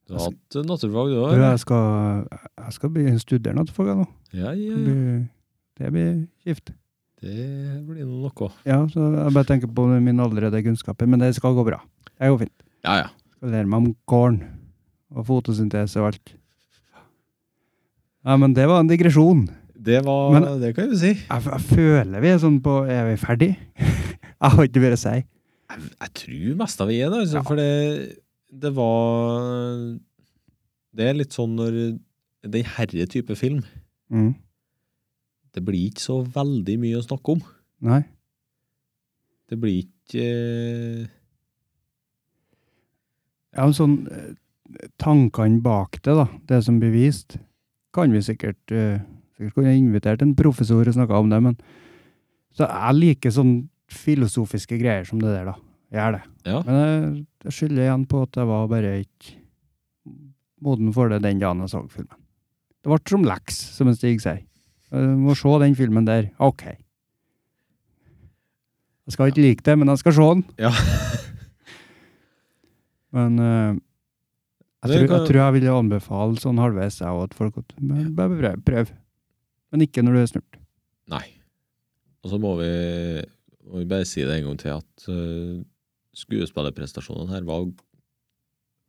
[SPEAKER 3] Du har
[SPEAKER 1] Altså-
[SPEAKER 3] hatt eh, naturfag, du
[SPEAKER 1] Du,
[SPEAKER 3] òg?
[SPEAKER 1] jeg skal, jeg skal begynne å studere naturfag jeg, nå.
[SPEAKER 3] Ja, ja,
[SPEAKER 1] Det
[SPEAKER 3] ja.
[SPEAKER 1] blir- Det blir kjipt.
[SPEAKER 3] Det blir nå noe.
[SPEAKER 1] Ja, så jeg bare tenker på min allerede kunnskaper, men det skal gå bra. Det går fint.
[SPEAKER 3] Ja, ja.
[SPEAKER 1] Skal lære meg om korn og fotosyntese og alt. Ja, men det var en digresjon.
[SPEAKER 3] Det var
[SPEAKER 1] Men-
[SPEAKER 3] Det kan jeg jo si.
[SPEAKER 1] Jeg, f- jeg føler vi er sånn på Er vi ferdig? jeg har ikke mer å si.
[SPEAKER 3] Jeg, jeg tror mest av vi er det, altså,
[SPEAKER 1] Ja.
[SPEAKER 3] for det, det var Det er litt sånn når den herre type film
[SPEAKER 1] Mm.
[SPEAKER 3] Det blir ikke så veldig mye å snakke om.
[SPEAKER 1] Nei.
[SPEAKER 3] Det blir ikke eh,
[SPEAKER 1] Ja, men sånn eh, Tankene bak det, da. Det som blir vist, kan vi sikkert eh, Sikkert kunne jeg invitert en professor og snakka om det, men Så jeg liker sånn filosofiske greier som det der, da. Jeg gjør det.
[SPEAKER 3] Ja.
[SPEAKER 1] Men jeg, jeg skylder igjen på at jeg var bare ikke moden for det den dagen jeg så filmen. Det ble som leks, som en Stig sier. Jeg må se den filmen der. Ok. Jeg skal ikke like det, men jeg skal se den.
[SPEAKER 3] Ja.
[SPEAKER 1] Men eh, jeg,
[SPEAKER 3] Det
[SPEAKER 1] tror,
[SPEAKER 3] kan-
[SPEAKER 1] jeg tror jeg ville anbefale sånn halvveis jeg òg, at folk at, men bare prøv, prøv. Men ikke når du er snurt.
[SPEAKER 3] Nei. Og så må vi, må vi bare si det en gang til at eh, skuespillerprestasjonene her var,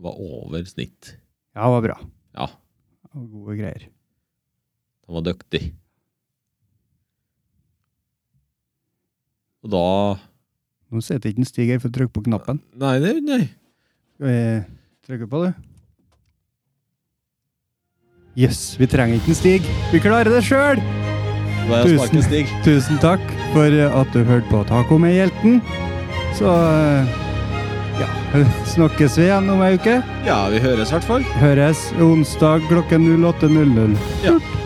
[SPEAKER 3] var over snitt.
[SPEAKER 1] Ja, det var bra.
[SPEAKER 3] Ja,
[SPEAKER 1] Det var Gode greier.
[SPEAKER 3] de var dyktige. Og da
[SPEAKER 1] Nå sitter ikke en Stig her for å trykke på knappen.
[SPEAKER 3] Nei, det, nei.
[SPEAKER 1] Skal vi trykke på det? Jøss, yes, vi trenger ikke en Stig. Vi klarer det sjøl!
[SPEAKER 3] Hva er
[SPEAKER 1] Tusen.
[SPEAKER 3] sparken, Stig?
[SPEAKER 1] Tusen takk for at du hørte på Taco med hjelten. Så eh, ja, snakkes vi igjen om ei uke.
[SPEAKER 3] Ja, vi høres i hvert fall.
[SPEAKER 1] Høres onsdag klokken 08.00.
[SPEAKER 3] Ja.
[SPEAKER 1] Tut.